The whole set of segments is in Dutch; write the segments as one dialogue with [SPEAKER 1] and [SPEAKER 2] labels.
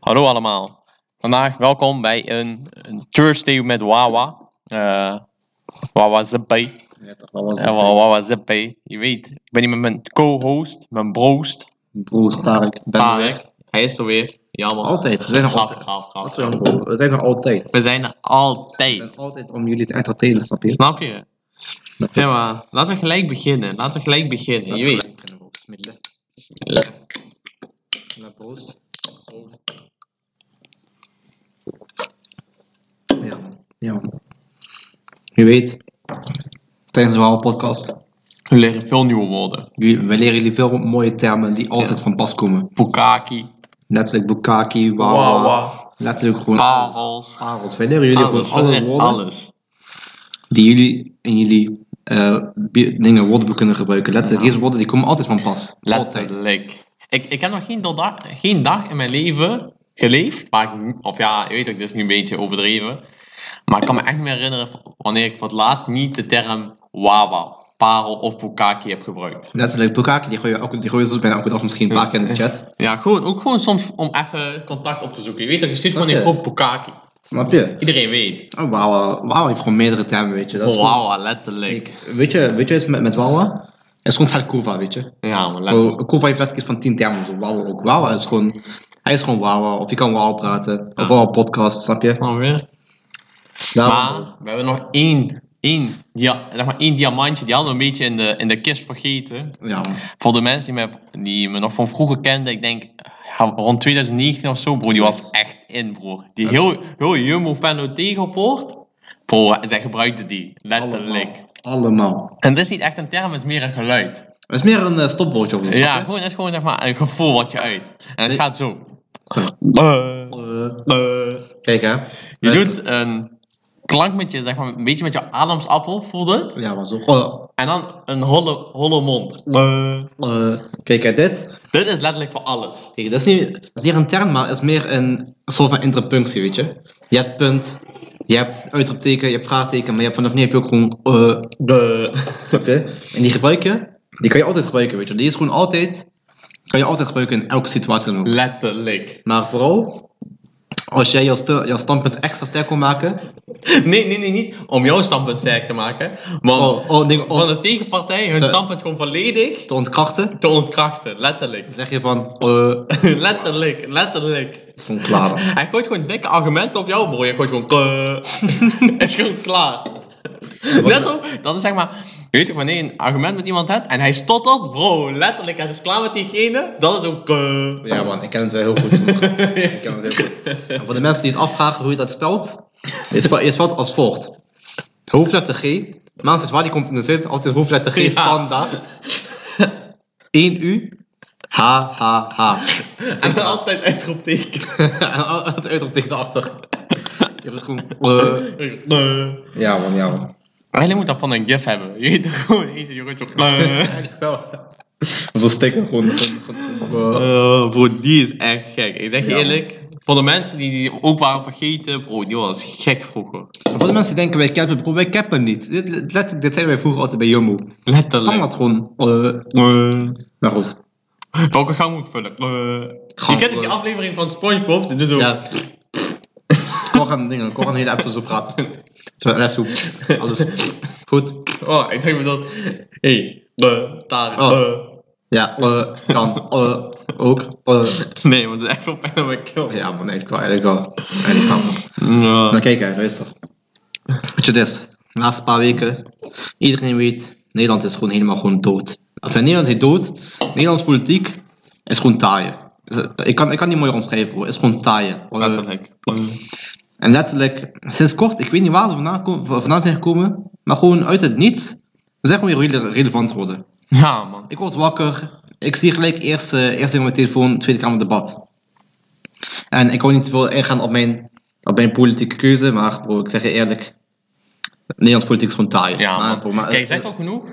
[SPEAKER 1] Hallo allemaal. Vandaag welkom bij een, een Thursday met Wawa. Eh Wawa Zippy.
[SPEAKER 2] Ja, toch, dat was
[SPEAKER 1] Ja, Wa- Wawa Zippy. Je weet, ik ben hier met mijn co-host, mijn broost.
[SPEAKER 2] Bro, Stark. Ben
[SPEAKER 1] Tarek.
[SPEAKER 2] er.
[SPEAKER 1] Hij is er weer. Jammer.
[SPEAKER 2] Altijd, we zijn er
[SPEAKER 1] Gaaf,
[SPEAKER 2] altijd.
[SPEAKER 1] gaaf, gaaf.
[SPEAKER 2] Wat voor een bro? We zijn er altijd.
[SPEAKER 1] We zijn er
[SPEAKER 2] We zijn
[SPEAKER 1] altijd.
[SPEAKER 2] er altijd om jullie te entertainen, snap je?
[SPEAKER 1] Snap je? Ja, maar laten we gelijk beginnen. Laten we gelijk beginnen. Je weet.
[SPEAKER 2] Bismillah. Bismillah, broers. Zo. Ja, man. ja. man. Je weet, tijdens de Wauw podcast,
[SPEAKER 1] Er liggen veel nieuwe woorden.
[SPEAKER 2] jullie- we leren jullie veel mooie termen die altijd van pas komen.
[SPEAKER 1] Bukaki.
[SPEAKER 2] Letterlijk Bukaki, Wawa,
[SPEAKER 1] Wawa.
[SPEAKER 2] letterlijk gewoon alles.
[SPEAKER 1] Parels.
[SPEAKER 2] Parels. Wij leren jullie
[SPEAKER 1] Alles.
[SPEAKER 2] gewoon alle
[SPEAKER 1] echt
[SPEAKER 2] woorden
[SPEAKER 1] alles.
[SPEAKER 2] die jullie in jullie eh, bi- dingen woordenboek kunnen gebruiken. Letterlijk,
[SPEAKER 1] Ja.
[SPEAKER 2] deze woorden die komen altijd van pas. Altijd.
[SPEAKER 1] Letterlijk. Ik, ik heb nog geen, doda- geen dag in mijn leven geleefd. Maar ik, n- of ja, je weet ook, dit is nu een beetje overdreven. Maar ik kan me echt niet meer herinneren v- wanneer ik voor het laatst niet de term wawa, parel of bukaki heb gebruikt.
[SPEAKER 2] Letterlijk, Bukaki die gooien elke- die gooien soms bijna elke dag misschien een paar keer in de chat.
[SPEAKER 1] Ja, gewoon, ook gewoon soms om even contact op te zoeken. Je weet toch, je stuurt gewoon in
[SPEAKER 2] Snap
[SPEAKER 1] de
[SPEAKER 2] je?
[SPEAKER 1] groep bukaki.
[SPEAKER 2] Snap je?
[SPEAKER 1] Iedereen weet.
[SPEAKER 2] Oh, Wawa. Wawa heeft gewoon meerdere termen, weet je. Dat is
[SPEAKER 1] Oh,
[SPEAKER 2] gewoon-
[SPEAKER 1] wawa, letterlijk.
[SPEAKER 2] Ik- weet je, weet je eens met, met Wawa? Dat is gewoon vaak Kova, weet je.
[SPEAKER 1] Ja, maar letterlijk.
[SPEAKER 2] Oh, Kova heeft letterlijk van 10 termen. Zo, Wawa ook. Wawa is gewoon... Hij is gewoon Wawa. Of je kan Wawa praten. Of Wawa podcast, snap je?
[SPEAKER 1] Dan weer.
[SPEAKER 2] Daarom-
[SPEAKER 1] Maar we hebben nog één, één, dia- zeg maar één diamantje. Die hadden we een beetje in de, in de kist vergeten.
[SPEAKER 2] Ja, man.
[SPEAKER 1] Voor de mensen die me, die me nog van vroeger kenden, ik denk ja, rond 2019 of zo, broer, die was echt in, broer. Die heel, heel Jumbo Venlo tegenpoort, broer, zij gebruikten die, letterlijk.
[SPEAKER 2] Allemaal. Allemaal.
[SPEAKER 1] En het is niet echt een term, het is meer een geluid.
[SPEAKER 2] Het is meer een eh, stopwoordje of zo,
[SPEAKER 1] ja,
[SPEAKER 2] snap je?
[SPEAKER 1] gewoon, het is gewoon zeg maar een gevoel wat je uit. En het
[SPEAKER 2] Nee.
[SPEAKER 1] gaat zo.
[SPEAKER 2] Zo.
[SPEAKER 1] Eh, eh.
[SPEAKER 2] Kijk hè.
[SPEAKER 1] Je doet een klank met je, zeg maar, een beetje met je ademsappel, voelt het?
[SPEAKER 2] Ja, maar zo. Oh,
[SPEAKER 1] En dan een holle, holle mond. Eh.
[SPEAKER 2] eh, kijk hè, dit.
[SPEAKER 1] Dit is letterlijk voor alles.
[SPEAKER 2] Kijk, dat is niet, dat is niet een term, maar het is meer een soort van interpunctie, weet je. Je hebt punt, je hebt uitroepteken, je hebt vraagteken, maar je hebt vanaf nu heb je ook gewoon eh, de. Snap je? En die gebruik je, die kan je altijd gebruiken, weet je. Die is gewoon altijd, kan je altijd gebruiken in elke situatie dan ook.
[SPEAKER 1] Letterlijk.
[SPEAKER 2] Maar vooral, als jij jouw, stu- jouw standpunt extra sterk wil maken,
[SPEAKER 1] Nee, nee, nee, niet om jouw standpunt sterk te maken, maar
[SPEAKER 2] oh, oh, nee,
[SPEAKER 1] van
[SPEAKER 2] oh,
[SPEAKER 1] de tegenpartij hun
[SPEAKER 2] Zo.
[SPEAKER 1] standpunt gewoon volledig
[SPEAKER 2] te ontkrachten,
[SPEAKER 1] te ontkrachten. Letterlijk.
[SPEAKER 2] dan zeg je van, eh, het
[SPEAKER 1] letterlijk, letterlijk.
[SPEAKER 2] is gewoon klaar dan.
[SPEAKER 1] Hij gooit gewoon dikke argumenten op jou, bro. Je gooit gewoon. "Kle." is gewoon klaar. Net zo, dat is zeg maar. Je weet toch wanneer je een argument met iemand hebt en hij stottert, bro, letterlijk, het is klaar met diegene, dat is ook. "Kle."
[SPEAKER 2] Ja man, ik ken het wel heel goed. sommige- ik ken het heel goed. En voor de mensen die het afvragen hoe je dat spelt, je spelt, je spelt als volgt. Hoofdletter G, maandag waar die komt in de zin, altijd hoofdletter G
[SPEAKER 1] Ja.
[SPEAKER 2] standaard. 1 U, H, H, H.
[SPEAKER 1] En dan altijd uitroepteken.
[SPEAKER 2] en al- het uitroepteken erachter. Je hebt gewoon... eh.
[SPEAKER 1] "Kle."
[SPEAKER 2] Ja man, ja man.
[SPEAKER 1] Eigenlijk moet dat van een gif hebben. Je weet toch gewoon eentje die rondje op.
[SPEAKER 2] Eigenlijk wel. Zo stikken gewoon. gewoon-
[SPEAKER 1] Eh, bro, die is echt gek. Ik zeg je
[SPEAKER 2] Ja.
[SPEAKER 1] eerlijk, voor de mensen die die ook waren vergeten, bro, die was gek vroeger.
[SPEAKER 2] En Voor de mensen die denken wij cappen, bro, wij cappen niet. Dit, letterlijk, dit zijn wij vroeger altijd bij Jumbo.
[SPEAKER 1] Letterlijk.
[SPEAKER 2] Standaard gewoon. eh, maar Nou, goed.
[SPEAKER 1] Welke gang moet ik vullen? Eh. je
[SPEAKER 2] Gang
[SPEAKER 1] kent ook die
[SPEAKER 2] vullen.
[SPEAKER 1] aflevering van SpongeBob, dus zo.
[SPEAKER 2] Ja. Cor gaan dingen, Cor gaan de hele episode zo praten. Terwijl les hoe alles goed.
[SPEAKER 1] Oh, ik denk me dat. Hé, eh, daar.
[SPEAKER 2] Oh.
[SPEAKER 1] eh.
[SPEAKER 2] Ja, eh, kan, eh, ook, eh.
[SPEAKER 1] Nee, want het is echt veel pijn aan mijn keel.
[SPEAKER 2] Ja man, eigenlijk wel, eigenlijk wel. Eigenlijk wel. man.
[SPEAKER 1] Ja.
[SPEAKER 2] Nou kijk hè, luister. Weet je dus, de laatste paar weken, iedereen weet, Nederland is gewoon helemaal gewoon dood. Of ja, Nederland is dood, Nederlandse politiek is gewoon taaien. Ik kan, ik kan niet mooi omschrijven bro, is gewoon taaien. Eh,
[SPEAKER 1] Letterlijk.
[SPEAKER 2] En letterlijk, sinds kort, ik weet niet waar ze vandaan, ko- v- vandaan zijn gekomen, maar gewoon uit het niets, we zijn gewoon weer rele- relevant worden.
[SPEAKER 1] Ja, man.
[SPEAKER 2] Ik word wakker, ik zie gelijk eerst, eh, eerst dingen op mijn telefoon, Tweede Kamer debat. En ik wil niet te veel ingaan op mijn, op mijn politieke keuze, maar bro, ik zeg je eerlijk, Nederlands politiek is gewoon taai.
[SPEAKER 1] Ja,
[SPEAKER 2] maar,
[SPEAKER 1] man.
[SPEAKER 2] bro, maar- eh,
[SPEAKER 1] Kijk, zegt al genoeg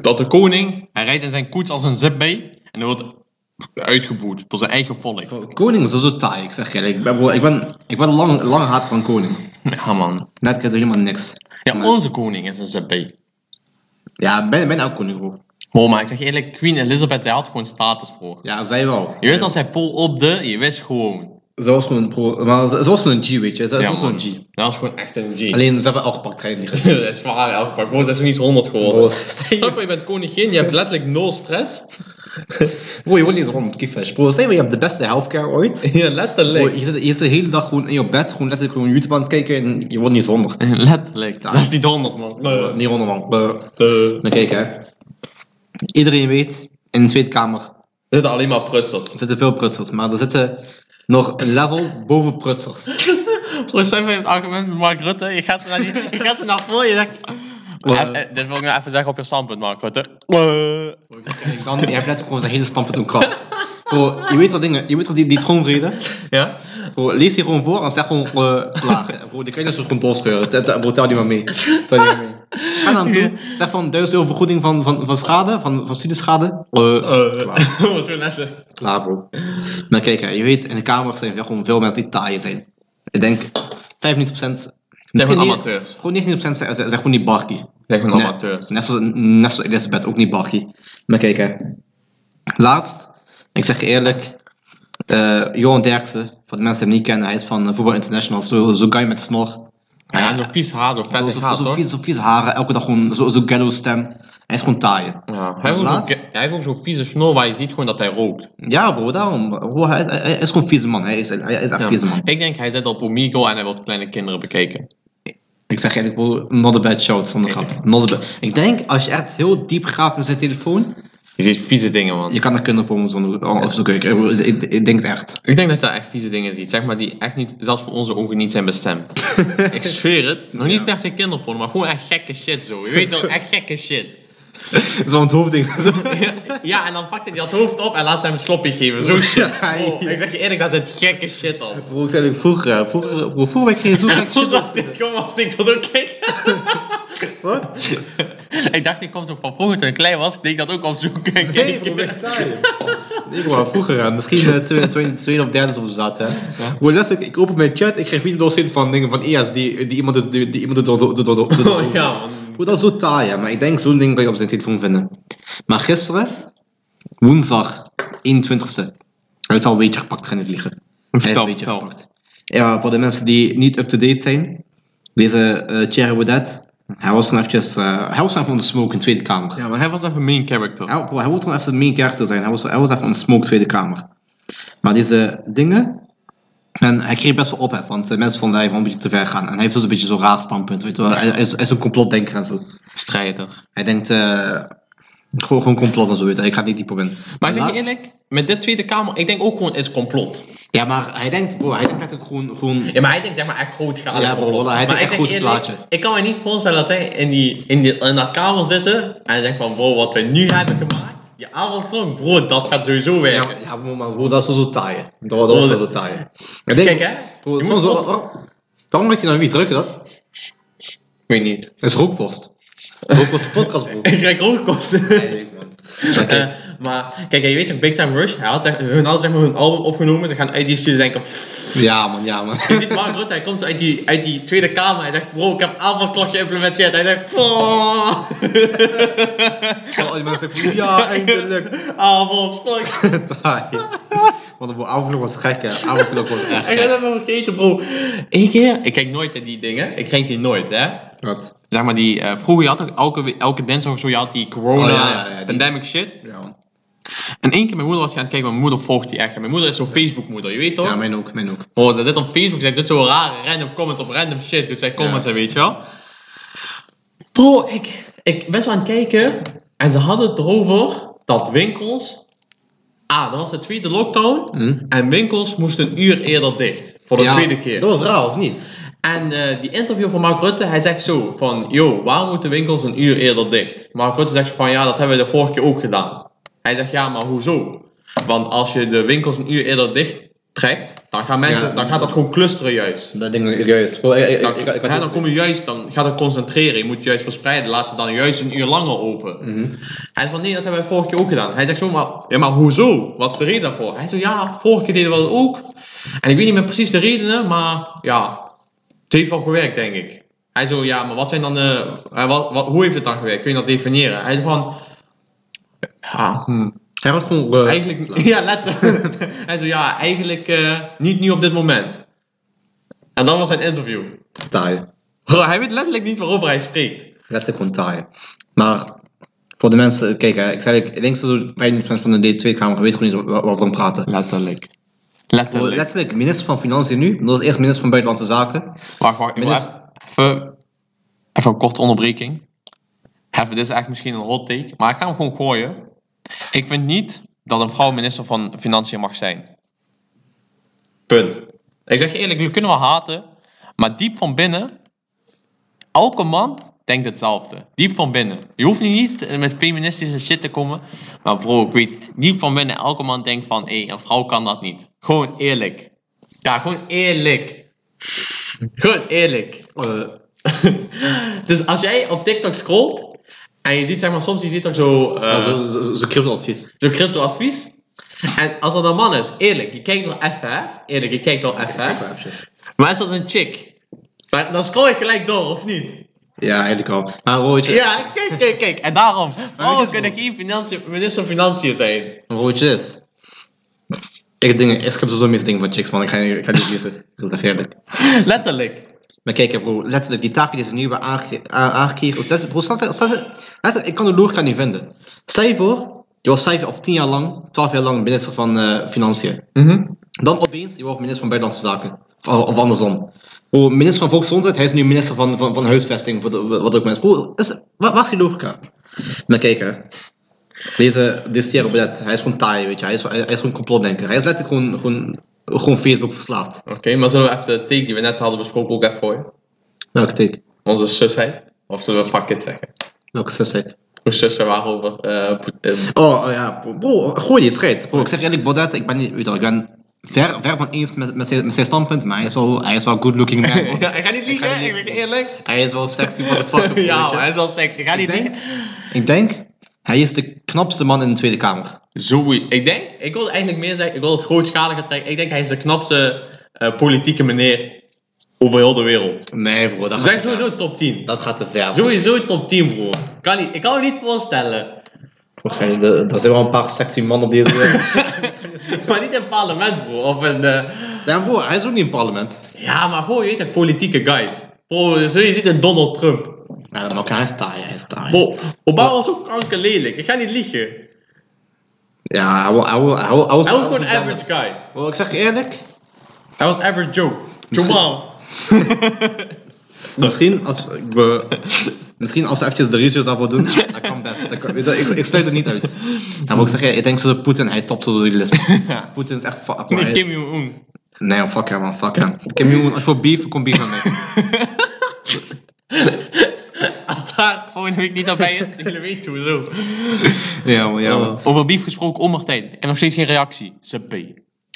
[SPEAKER 1] dat de koning, hij rijdt in zijn koets als een zipbee en hij wordt uitgeboet door zijn eigen volk.
[SPEAKER 2] Bro, eh, Koning is sowieso taai, ik zeg je eerlijk. Ik ben, bro, ik ben, ik ben lang, lang haat van koning.
[SPEAKER 1] Ja, man.
[SPEAKER 2] Net krijg je helemaal niks.
[SPEAKER 1] Ja, onze koning is een zipbee.
[SPEAKER 2] Ja, ben, ben ook koning, bro.
[SPEAKER 1] Bro, maar ik zeg je eerlijk, Queen Elizabeth, zij had gewoon status, bro.
[SPEAKER 2] Ja, zij wel.
[SPEAKER 1] Je wist als zij pol op de, je wist gewoon.
[SPEAKER 2] Ze was gewoon een pro, maar ze, ze was gewoon een G, weet je. Ze ze
[SPEAKER 1] Ja,
[SPEAKER 2] was gewoon een
[SPEAKER 1] man.
[SPEAKER 2] G.
[SPEAKER 1] Dat is gewoon echt een G.
[SPEAKER 2] Alleen, ze hebben al gepakt trein liggen.
[SPEAKER 1] dat is waar, elk pak. Bro, dat is nog niet eens 100 geworden. Stel voor, je bent koningin, je hebt letterlijk nul stress.
[SPEAKER 2] Bro, je wordt niet eens rond kiefers. Bro, stel je voor, je hebt de beste healthcare ooit.
[SPEAKER 1] Ja,
[SPEAKER 2] Bro,
[SPEAKER 1] letterlijk.
[SPEAKER 2] je, zit, je zit de hele dag gewoon in je bed, gewoon letterlijk gewoon YouTube aan het kijken en je wordt niet eens honderd.
[SPEAKER 1] Letterlijk. Dat is niet 100, man.
[SPEAKER 2] Eh, Niet honderd man. Eh, Maar kijk hè. Iedereen weet, in de Tweede Kamer
[SPEAKER 1] Er zitten alleen maar prutsers.
[SPEAKER 2] zitten veel prutsers, maar er zitten nog een level boven prutsers.
[SPEAKER 1] Bro, stel voor, je hebt het argument met Mark Rutte. Je gaat ze naar, die, je gaat ze naar voor je denkt...
[SPEAKER 2] Eh.
[SPEAKER 1] Eh, eh, Dit wil ik nou even zeggen op je standpunt, Mark Rutte. Eh.
[SPEAKER 2] En dan, je hebt letterlijk gewoon zijn hele standpunt op kracht. Bro, je weet wat dingen, je weet wat die, die troonreden.
[SPEAKER 1] Ja?
[SPEAKER 2] Bro, lees die gewoon voor en zeg gewoon eh laag. Bro, de kleine is gewoon doorscheuren. Tel- tel- Bro, tel eh, die maar mee. Tel die maar mee. Ga dan toe, zeg van 1000 euro vergoeding van, van, van schade, van, van studieschade. Eh, Klaar.
[SPEAKER 1] Dat was weer letterlijk.
[SPEAKER 2] Klaar, bro. Maar kijk, hè, je weet, in de Kamer zijn er gewoon veel mensen die taaien zijn. Ik denk 95%.
[SPEAKER 1] Zeg
[SPEAKER 2] misschien
[SPEAKER 1] gewoon
[SPEAKER 2] niet-
[SPEAKER 1] amateurs.
[SPEAKER 2] Gewoon 99% zijn, zijn, zijn gewoon niet barkie.
[SPEAKER 1] Zeg gewoon
[SPEAKER 2] Nee.
[SPEAKER 1] amateurs.
[SPEAKER 2] Net zoals, net zoals Elizabeth, ook niet barkie. Maar kijk, hè. Laatst, ik zeg je eerlijk, eh Johan Derksen, voor de mensen die hem niet kennen, hij is van eh, Voetbal International, zo'n zo guy met snor.
[SPEAKER 1] Ja, zo'n vies haar, zo'n
[SPEAKER 2] Zo-
[SPEAKER 1] vettig
[SPEAKER 2] zo-
[SPEAKER 1] haar,
[SPEAKER 2] zo
[SPEAKER 1] toch?
[SPEAKER 2] vies- Zo'n vieze haren, elke dag gewoon zo'n zo ghetto stem. Hij is gewoon taaien.
[SPEAKER 1] Ja, hij, heeft ook
[SPEAKER 2] Laatst-
[SPEAKER 1] zo'n ge- hij heeft ook zo'n vieze snor waar je ziet gewoon dat hij rookt.
[SPEAKER 2] Ja, bro, daarom. Bro, hij, hij- hij is gewoon vieze man. Hij is, hij is echt
[SPEAKER 1] Ja.
[SPEAKER 2] vieze man.
[SPEAKER 1] Ik denk hij zit op Omigo en hij wil kleine kinderen bekeken.
[SPEAKER 2] Ik zeg eigenlijk, bro, not a bad shout, zonder grap. Not a ba- ik denk, als je echt heel diep gaat in zijn telefoon,
[SPEAKER 1] Je ziet vieze dingen, man.
[SPEAKER 2] je kan er kinderporno zonder opzoeken. Ik, ik, ik, ik denk het echt.
[SPEAKER 1] Ik denk dat je daar echt vieze dingen ziet, zeg maar, die echt niet, zelfs voor onze ogen niet zijn bestemd. ik zweer het. Nog niet
[SPEAKER 2] Ja.
[SPEAKER 1] per se kinderporno, maar gewoon echt gekke shit zo. Je weet wel, echt gekke shit.
[SPEAKER 2] Zo'n hoofdding.
[SPEAKER 1] ja, en dan pakt hij dat hoofd op en laat hem een slopje geven. Zo shit.
[SPEAKER 2] Ja,
[SPEAKER 1] Oh,
[SPEAKER 2] ja.
[SPEAKER 1] ik zeg je eerlijk, dat zit gekke shit op.
[SPEAKER 2] Bro, ik zei eigenlijk, vroeger, hè, vroeger, bro, vroeger werd ik geen zo gek shit
[SPEAKER 1] Voordat
[SPEAKER 2] op.
[SPEAKER 1] dit kwam, was ik dat ook kijk.
[SPEAKER 2] Wat?
[SPEAKER 1] ik dacht, ik kwam zo van vroeger toen ik klein was, deed ik dat ook opzoeken. en
[SPEAKER 2] Nee,
[SPEAKER 1] kijken.
[SPEAKER 2] bro, ik taai. Nee, bro, vroeger, hè, misschien eh, tweede, tweede, tweede of derde of zo zat, hè. Bro, letterlijk, ik open mijn chat, ik krijg video's in van dingen van IA's die, die iemand die, die iemand door- door- door- door- door- door-
[SPEAKER 1] Oh ja, man.
[SPEAKER 2] Hoe dat is zo taai, hè, maar ik denk zo'n ding kan je op zijn telefoon vinden. Maar gisteren, woensdag 21ste, hij heeft al een weetje gepakt, ga niet liegen. Hij heeft
[SPEAKER 1] Vertel,
[SPEAKER 2] een weetje
[SPEAKER 1] vertel.
[SPEAKER 2] gepakt. Ja, voor de mensen die niet up-to-date zijn, deze eh Thierry Baudet, hij was gewoon eventjes, eh, hij was gewoon even on the smoke in de Tweede Kamer.
[SPEAKER 1] Ja, maar hij was even main character.
[SPEAKER 2] Hij, bro, hij wil gewoon even de main character zijn, hij was, hij was even on the smoke Tweede Kamer. Maar deze dingen, en hij kreeg best wel ophef, want de mensen vonden hij wel een beetje te ver gaan. En hij heeft dus een beetje zo'n raar standpunt, weet je wel. Hij, hij is, hij is een complotdenker en zo.
[SPEAKER 1] Strijder.
[SPEAKER 2] Hij denkt, eh, gewoon, gewoon complot en zo, weet je. Ik ga niet dieper in.
[SPEAKER 1] Maar zeg je
[SPEAKER 2] laat-
[SPEAKER 1] eerlijk, met dit Tweede Kamer, ik denk ook gewoon het is complot.
[SPEAKER 2] Ja, maar hij denkt, bro, hij denkt dat ik gewoon, gewoon...
[SPEAKER 1] Ja, maar hij denkt zeg maar echt grootschalig.
[SPEAKER 2] Ja, bro,
[SPEAKER 1] complot.
[SPEAKER 2] voilà,
[SPEAKER 1] maar
[SPEAKER 2] hij denkt
[SPEAKER 1] ik
[SPEAKER 2] echt
[SPEAKER 1] zeg
[SPEAKER 2] groot
[SPEAKER 1] eerlijk,
[SPEAKER 2] plaatje.
[SPEAKER 1] Ik kan me niet voorstellen dat zij in, die, in, die, in dat kamer zitten en zegt van bro, wat we nu hebben gemaakt, je avondklok, bro, dat gaat sowieso werken.
[SPEAKER 2] Ja, ja, maar bro, dat is zo taaien. Dat, dat was zo taaien. Ik denk,
[SPEAKER 1] Kijk hè,
[SPEAKER 2] Bro,
[SPEAKER 1] je
[SPEAKER 2] het
[SPEAKER 1] moet
[SPEAKER 2] is zo,
[SPEAKER 1] vast-
[SPEAKER 2] oh, waarom maakt hij nou wie drukken dat?
[SPEAKER 1] Ik weet niet.
[SPEAKER 2] Dat is rookworst. Rookworst de podcast, bro.
[SPEAKER 1] Ik krijg rookkosten.
[SPEAKER 2] Oké.
[SPEAKER 1] Eh, maar kijk, hè, je weet toch, Big Time Rush, hij had, zeg- hun hadden zeg maar hun album opgenomen, ze gaan uit die studio denken,
[SPEAKER 2] Ja, man, ja, man.
[SPEAKER 1] Je ziet Mark Rutte, hij komt zo uit die, uit die Tweede Kamer. Hij zegt, bro, ik heb avondklok geïmplementeerd. Hij zegt, "Pah."
[SPEAKER 2] Al Oh. die mensen zeggen, ja, eindelijk.
[SPEAKER 1] avondklok.
[SPEAKER 2] Taaien. Want bro, avondklok was gek, hè. Avondklok was echt
[SPEAKER 1] Ik had
[SPEAKER 2] gek.
[SPEAKER 1] even vergeten, bro. Eén keer, ik kijk nooit naar die dingen. Ik kijk die nooit, hè.
[SPEAKER 2] Wat?
[SPEAKER 1] Zeg maar, die, eh, vroeger je had ook elke, we- elke dinsdag of zo, je had die corona,
[SPEAKER 2] Oh, ja, ja, ja, die-
[SPEAKER 1] pandemic shit.
[SPEAKER 2] Ja, man.
[SPEAKER 1] En één keer mijn moeder was gaan kijken, mijn moeder volgt die echt. En Mijn moeder is zo'n Facebook-moeder, je weet toch?
[SPEAKER 2] Ja, mijn ook, mijn ook.
[SPEAKER 1] Bro, Oh, ze zit op Facebook, zij doet zo rare random comments op random shit. Doet zij commenten, weet je wel. Bro, ik, ik ben zo aan het kijken en ze hadden het erover dat winkels... Ah, dat was de tweede lockdown.
[SPEAKER 2] Hm?
[SPEAKER 1] En winkels moesten een uur eerder dicht. Voor de
[SPEAKER 2] Ja,
[SPEAKER 1] tweede keer.
[SPEAKER 2] Dat was raar, of niet?
[SPEAKER 1] En eh, die interview van Mark Rutte, hij zegt zo van... Yo, waarom moeten winkels een uur eerder dicht? Mark Rutte zegt van ja, dat hebben we de vorige keer ook gedaan. Hij zegt ja, maar hoezo? Want als je de winkels een uur eerder dicht trekt, dan, gaan mensen,
[SPEAKER 2] Ja.
[SPEAKER 1] dan gaat dat gewoon clusteren juist.
[SPEAKER 2] Dat ding is juist. Bro, ik- ik-
[SPEAKER 1] Dan,
[SPEAKER 2] ik- ik- ik-
[SPEAKER 1] hè, dan kom je juist, dan gaat het concentreren. Je moet juist verspreiden. Laat ze dan juist een uur langer open.
[SPEAKER 2] Mhm.
[SPEAKER 1] Hij van nee, dat hebben wij vorige keer ook gedaan. Hij zegt zo, maar, ja, maar hoezo? Wat is de reden daarvoor? Hij zo, ja, vorige keer deden we dat ook. En ik weet niet meer precies de redenen, maar ja, het heeft wel gewerkt, denk ik. Hij zo, ja, maar wat zijn dan de, eh, wat, wat, hoe heeft het dan gewerkt? Kun je dat definiëren? Hij zo van, ja, hm.
[SPEAKER 2] Hij wordt gewoon... eh,
[SPEAKER 1] Eigenlijk, ja, let. hij zo, ja, eigenlijk eh, niet nu op dit moment. En dan was zijn interview.
[SPEAKER 2] taai.
[SPEAKER 1] Bro, hij weet letterlijk niet waarover hij spreekt.
[SPEAKER 2] Letterlijk gewoon taai. Maar voor de mensen, kijk hè, ik zei ik, ik denk zo 95% van de D2-kamer weet gewoon niet waar- waarover we praten.
[SPEAKER 1] Letterlijk. Letterlijk.
[SPEAKER 2] Letterlijk, minister van Financiën nu, dat was eerst minister van Buitenlandse Zaken.
[SPEAKER 1] Wacht, wacht. Ik wil
[SPEAKER 2] Minister-
[SPEAKER 1] even, even, even een korte onderbreking. Even, dit is echt misschien een hot take, maar ik ga hem gewoon gooien. Ik vind niet dat een vrouw minister van Financiën mag zijn. Punt. Ik zeg je eerlijk, jullie kunnen wel haten, maar diep van binnen, elke man denkt hetzelfde. Diep van binnen. Je hoeft nu niet met feministische shit te komen, maar bro, ik weet, diep van binnen, elke man denkt van, hé, een vrouw kan dat niet. Gewoon eerlijk. Ja, gewoon eerlijk. Goed, eerlijk.
[SPEAKER 2] Eh,
[SPEAKER 1] dus als jij op TikTok scrolt en je ziet zeg maar soms je ziet ook zo, eh,
[SPEAKER 2] ja,
[SPEAKER 1] zo,
[SPEAKER 2] zo- zo- zo- Zo'n crypto-advies.
[SPEAKER 1] crypto advies. En als dat een man is, eerlijk, je kijkt wel even, hè? Eerlijk, je kijkt wel even, hè? Maar is dat een chick? Maar dan scroll je gelijk door, of niet?
[SPEAKER 2] Ja, eigenlijk wel. Maar Roodje,
[SPEAKER 1] Ja, kijk, kijk, kijk. En daarom,
[SPEAKER 2] weet je
[SPEAKER 1] waarom
[SPEAKER 2] wat?
[SPEAKER 1] kunnen geen financiën, minister van Financiën zijn?
[SPEAKER 2] Roodje is. Ik, denk, ik heb sowieso mis dingen van chicks, man. Ik ga, ik ga niet liever. Ik wil dat eerlijk.
[SPEAKER 1] Letterlijk.
[SPEAKER 2] Maar kijk, bro, letterlijk, die taak die ze nu hebben aange- a- aangekregen. is letterlijk- Bro, snap je- snap je- letterlijk, ik kan de logica niet vinden. Stel je voor, je was 5 of 10 jaar lang, 12 jaar lang minister van eh, Financiën.
[SPEAKER 1] Mhm.
[SPEAKER 2] Dan opeens, je wordt minister van Buitenlandse Zaken. Of, of andersom. Bro, minister van Volksgezondheid, hij is nu minister van, van, van Huisvesting, voor de- wat ook mensen. Bro, is, waar, waar is die logica? Maar kijk, hè. Deze, deze Thierry Baudet, hij is gewoon taai, weet je. Hij is, hij, hij is gewoon complotdenker. Hij is letterlijk gewoon, gewoon, gewoon Facebook verslaafd.
[SPEAKER 1] Oké, maar zullen we even de take die we net hadden besproken ook even gooien?
[SPEAKER 2] Welke take?
[SPEAKER 1] Onze zusheid? Of zullen we fuck it zeggen?
[SPEAKER 2] Welke zesheid?
[SPEAKER 1] Hoe zussen waren over... eh, Poet- eh,
[SPEAKER 2] Oh, oh ja, bro, bro, gooi die scheid. Bro, ik zeg eerlijk, Baudet, ik ben niet, weet je wel, ik ben ver, ver van eens met, met, zijn, met zijn standpunt, maar hij is wel, hij is wel good looking man, man.
[SPEAKER 1] Ja, ik ga niet liegen,
[SPEAKER 2] Ik
[SPEAKER 1] ik,
[SPEAKER 2] ga niet
[SPEAKER 1] ben
[SPEAKER 2] liegen.
[SPEAKER 1] eerlijk.
[SPEAKER 2] Hij is wel sexy motherfucker, bro, weet
[SPEAKER 1] ja,
[SPEAKER 2] je.
[SPEAKER 1] hij is wel sexy. Ik ga niet
[SPEAKER 2] Ik denk-
[SPEAKER 1] liegen.
[SPEAKER 2] Ik denk, hij is de knapste man in de Tweede Kamer.
[SPEAKER 1] Zo, ik denk, ik wil eigenlijk meer zeggen, ik wil het grootschaliger trekken. Ik denk hij is de knapste eh, politieke meneer over heel de wereld.
[SPEAKER 2] Nee bro, dat
[SPEAKER 1] We
[SPEAKER 2] gaat,
[SPEAKER 1] zijn
[SPEAKER 2] te ver.
[SPEAKER 1] sowieso top 10.
[SPEAKER 2] dat gaat te ver. Zo.
[SPEAKER 1] Sowieso top 10, broer. Kan niet, ik kan me niet voorstellen.
[SPEAKER 2] Ik zei, er er zijn wel een paar sexy mannen op deze wereld.
[SPEAKER 1] maar niet in het parlement, broer. Of in, eh,
[SPEAKER 2] ja bro, hij is ook niet in het parlement.
[SPEAKER 1] Ja, maar gewoon, je weet het, politieke guys. Bro, zo je ziet een Donald Trump.
[SPEAKER 2] Ja, maar ook hij is taai, hij is taai.
[SPEAKER 1] Bro, Obama was ook kankerlelijk. Ik ga niet liegen.
[SPEAKER 2] Ja, hij wil, hij wil, hij wil, hij wil-
[SPEAKER 1] Hij was gewoon
[SPEAKER 2] hij wil-
[SPEAKER 1] average guy.
[SPEAKER 2] Bro, ik zeg je eerlijk,
[SPEAKER 1] Hij was average Joe. Joe
[SPEAKER 2] Misschien-
[SPEAKER 1] Brown.
[SPEAKER 2] Misschien als we, misschien als we eventjes de research daarvoor doen, dat kan best. Dat kan- weet je, ik, ik sluit het niet uit. Ja, maar ik zeg, ja, ik denk zo dat Poetin, hij topt zo door die list.
[SPEAKER 1] Ja.
[SPEAKER 2] Poetin is echt... fa- maar
[SPEAKER 1] Nee,
[SPEAKER 2] hij-
[SPEAKER 1] Kim Jong-un.
[SPEAKER 2] Nee, man, fuck hem man, fuck hem. Kim Jong-un, als je voor beef, kom beef aan mij.
[SPEAKER 1] Als daar volgende week niet aan bij is, jullie weten hoe zo.
[SPEAKER 2] Ja man, ja man.
[SPEAKER 1] Over beef gesproken, Omertijd. Ik heb nog steeds geen reactie. Ze B. Oké,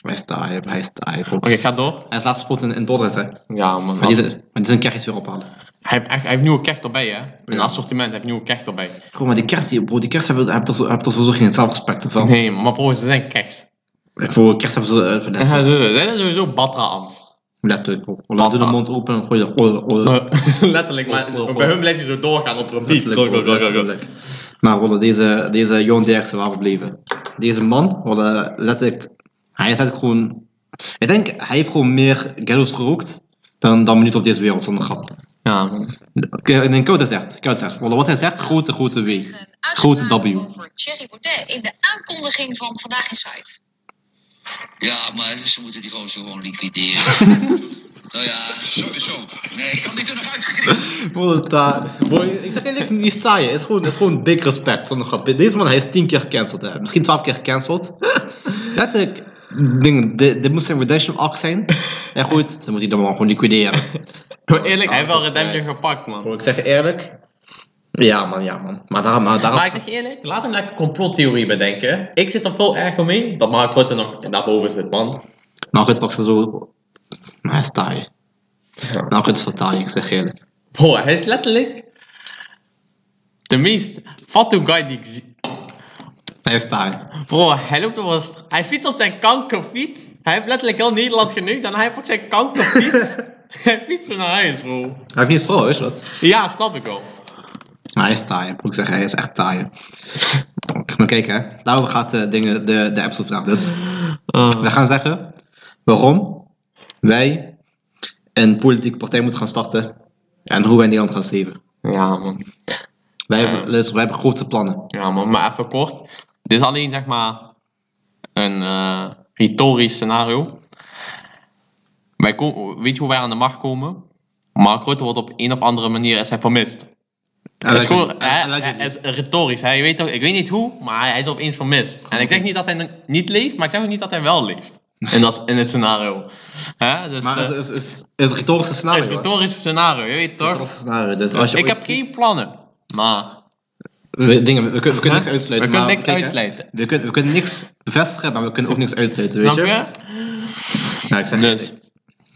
[SPEAKER 2] Hij is taai, hij is taai. bro.
[SPEAKER 1] ga door.
[SPEAKER 2] Hij is laatst spot in, in Dordrecht, hè.
[SPEAKER 1] Ja, man.
[SPEAKER 2] Maar die is- maar die zijn kerst weer ophalen.
[SPEAKER 1] Hij, heeft echt, hij heeft nieuwe kerst erbij, hè? Een assortiment, hij heeft nieuwe kerst erbij.
[SPEAKER 2] Bro, maar die kerst, die, bro, die kerst hebben, hebben, toch, zo- hebben toch sowieso geen zelfrespect van.
[SPEAKER 1] Nee, man, maar bro, ze zijn kerst.
[SPEAKER 2] Voor kerst hebben ze... eh,
[SPEAKER 1] En
[SPEAKER 2] verlet-
[SPEAKER 1] gaan ze- ze zijn sowieso Batra-ams.
[SPEAKER 2] Letterlijk, bro. Laat de mond open en gooi de... oh, oh.
[SPEAKER 1] Letterlijk, maar
[SPEAKER 2] Oh, oh, oh.
[SPEAKER 1] bij hun blijf je zo doorgaan op repeat.
[SPEAKER 2] Letterlijk,
[SPEAKER 1] Go, go, go, go, go.
[SPEAKER 2] letterlijk. Maar willen deze, deze Johan Derksen waar we bleven. Deze man, willen letterlijk, hij is letterlijk gewoon. Ik denk, hij heeft gewoon meer ghettos gerookt dan, dan minuten op deze wereld zonder grap.
[SPEAKER 1] Ja, man.
[SPEAKER 2] Ik ik denk, koud is echt, koud is echt. Wallah, wat hij zegt, grote, grote W.
[SPEAKER 3] Een
[SPEAKER 2] Grote
[SPEAKER 3] uitspraak
[SPEAKER 2] W.
[SPEAKER 3] Over Thierry Baudet in de aankondiging van Vandaag in Zuid.
[SPEAKER 4] Ja, maar ze moeten die gozer gewoon liquideren. nou ja, sowieso. Nee, ik had niet er nog uitgekregen.
[SPEAKER 2] Wallah, ta- Bro, ik zeg eigenlijk niet saaien, het is gewoon, het is gewoon dik respect zonder grap. Deze man, hij is tien keer gecanceld, hè. misschien twaalf keer gecanceld. Letterlijk, ik denk, dit, dit moet zijn redemption arc zijn. En goed, ze moeten die dan maar gewoon liquideren.
[SPEAKER 1] Gewoon eerlijk, hij heeft wel
[SPEAKER 2] dat is,
[SPEAKER 1] Redemption gepakt, man.
[SPEAKER 2] Bro, ik zeg je eerlijk. Ja man, ja man. Maar daarom, maar daarom...
[SPEAKER 1] Maar ik zeg je eerlijk, laat hem lekker complottheorie bedenken. Ik zit er veel erger mee dat Mark Rutte nog daarboven zit, man.
[SPEAKER 2] Maar goed, pak ze zo... Maar hij is taai. Nou, het is wel taai, ik zeg je eerlijk.
[SPEAKER 1] Bro, hij is letterlijk de meest fatsoen guy die ik zie.
[SPEAKER 2] Hij is taai.
[SPEAKER 1] Bro, hij loopt op een stra- Hij fietst op zijn kankerfiets. Hij heeft letterlijk heel Nederland geneukt en hij heeft ook zijn kankerfiets. hij fietst zo naar huis, bro.
[SPEAKER 2] Hij heeft niet eens vrouw, is wat?
[SPEAKER 1] Ja, snap ik wel.
[SPEAKER 2] Maar hij is taai, moet ik zeggen. Hij is echt taai. Maar kijk hè, daarover gaat de, dingen, de, de episode vandaag dus.
[SPEAKER 1] Ah.
[SPEAKER 2] We gaan zeggen waarom wij een politieke partij moeten gaan starten. En hoe wij Nederland gaan steven.
[SPEAKER 1] ja, man.
[SPEAKER 2] Wij,
[SPEAKER 1] Ja.
[SPEAKER 2] hebben, luister, wij hebben grote plannen.
[SPEAKER 1] Ja, man. Maar even kort. Dit is alleen, zeg maar, een eh retorisch scenario. Wij ko- weet je hoe wij aan de macht komen? Mark Rutte wordt op een of andere manier is hij vermist. Het is gewoon, hè,
[SPEAKER 2] Allegedly.
[SPEAKER 1] het is retorisch. Hè. Je weet toch, ik weet niet hoe, maar hij is opeens vermist. En ik zeg niet dat hij n- niet leeft, maar ik zeg ook niet dat hij wel leeft. In, dat, in het scenario. Hè? Dus,
[SPEAKER 2] Maar
[SPEAKER 1] eh,
[SPEAKER 2] het is, is, is, is een retorische
[SPEAKER 1] het
[SPEAKER 2] scenario.
[SPEAKER 1] is een
[SPEAKER 2] hoor.
[SPEAKER 1] retorisch scenario, je weet toch?
[SPEAKER 2] Retorische scenario. Dus als je
[SPEAKER 1] Ik
[SPEAKER 2] ooit
[SPEAKER 1] heb
[SPEAKER 2] ziet-
[SPEAKER 1] geen plannen, maar
[SPEAKER 2] We, dingen, we, kunnen, we kunnen niks
[SPEAKER 1] Huh?
[SPEAKER 2] uitsluiten.
[SPEAKER 1] We kunnen
[SPEAKER 2] maar
[SPEAKER 1] niks
[SPEAKER 2] kijk, hè.
[SPEAKER 1] uitsluiten.
[SPEAKER 2] We kunnen, we kunnen niks bevestigen, maar we kunnen ook niks uitsluiten, weet
[SPEAKER 1] snap
[SPEAKER 2] je?
[SPEAKER 1] je?
[SPEAKER 2] Nou, ik zeg
[SPEAKER 1] Dus,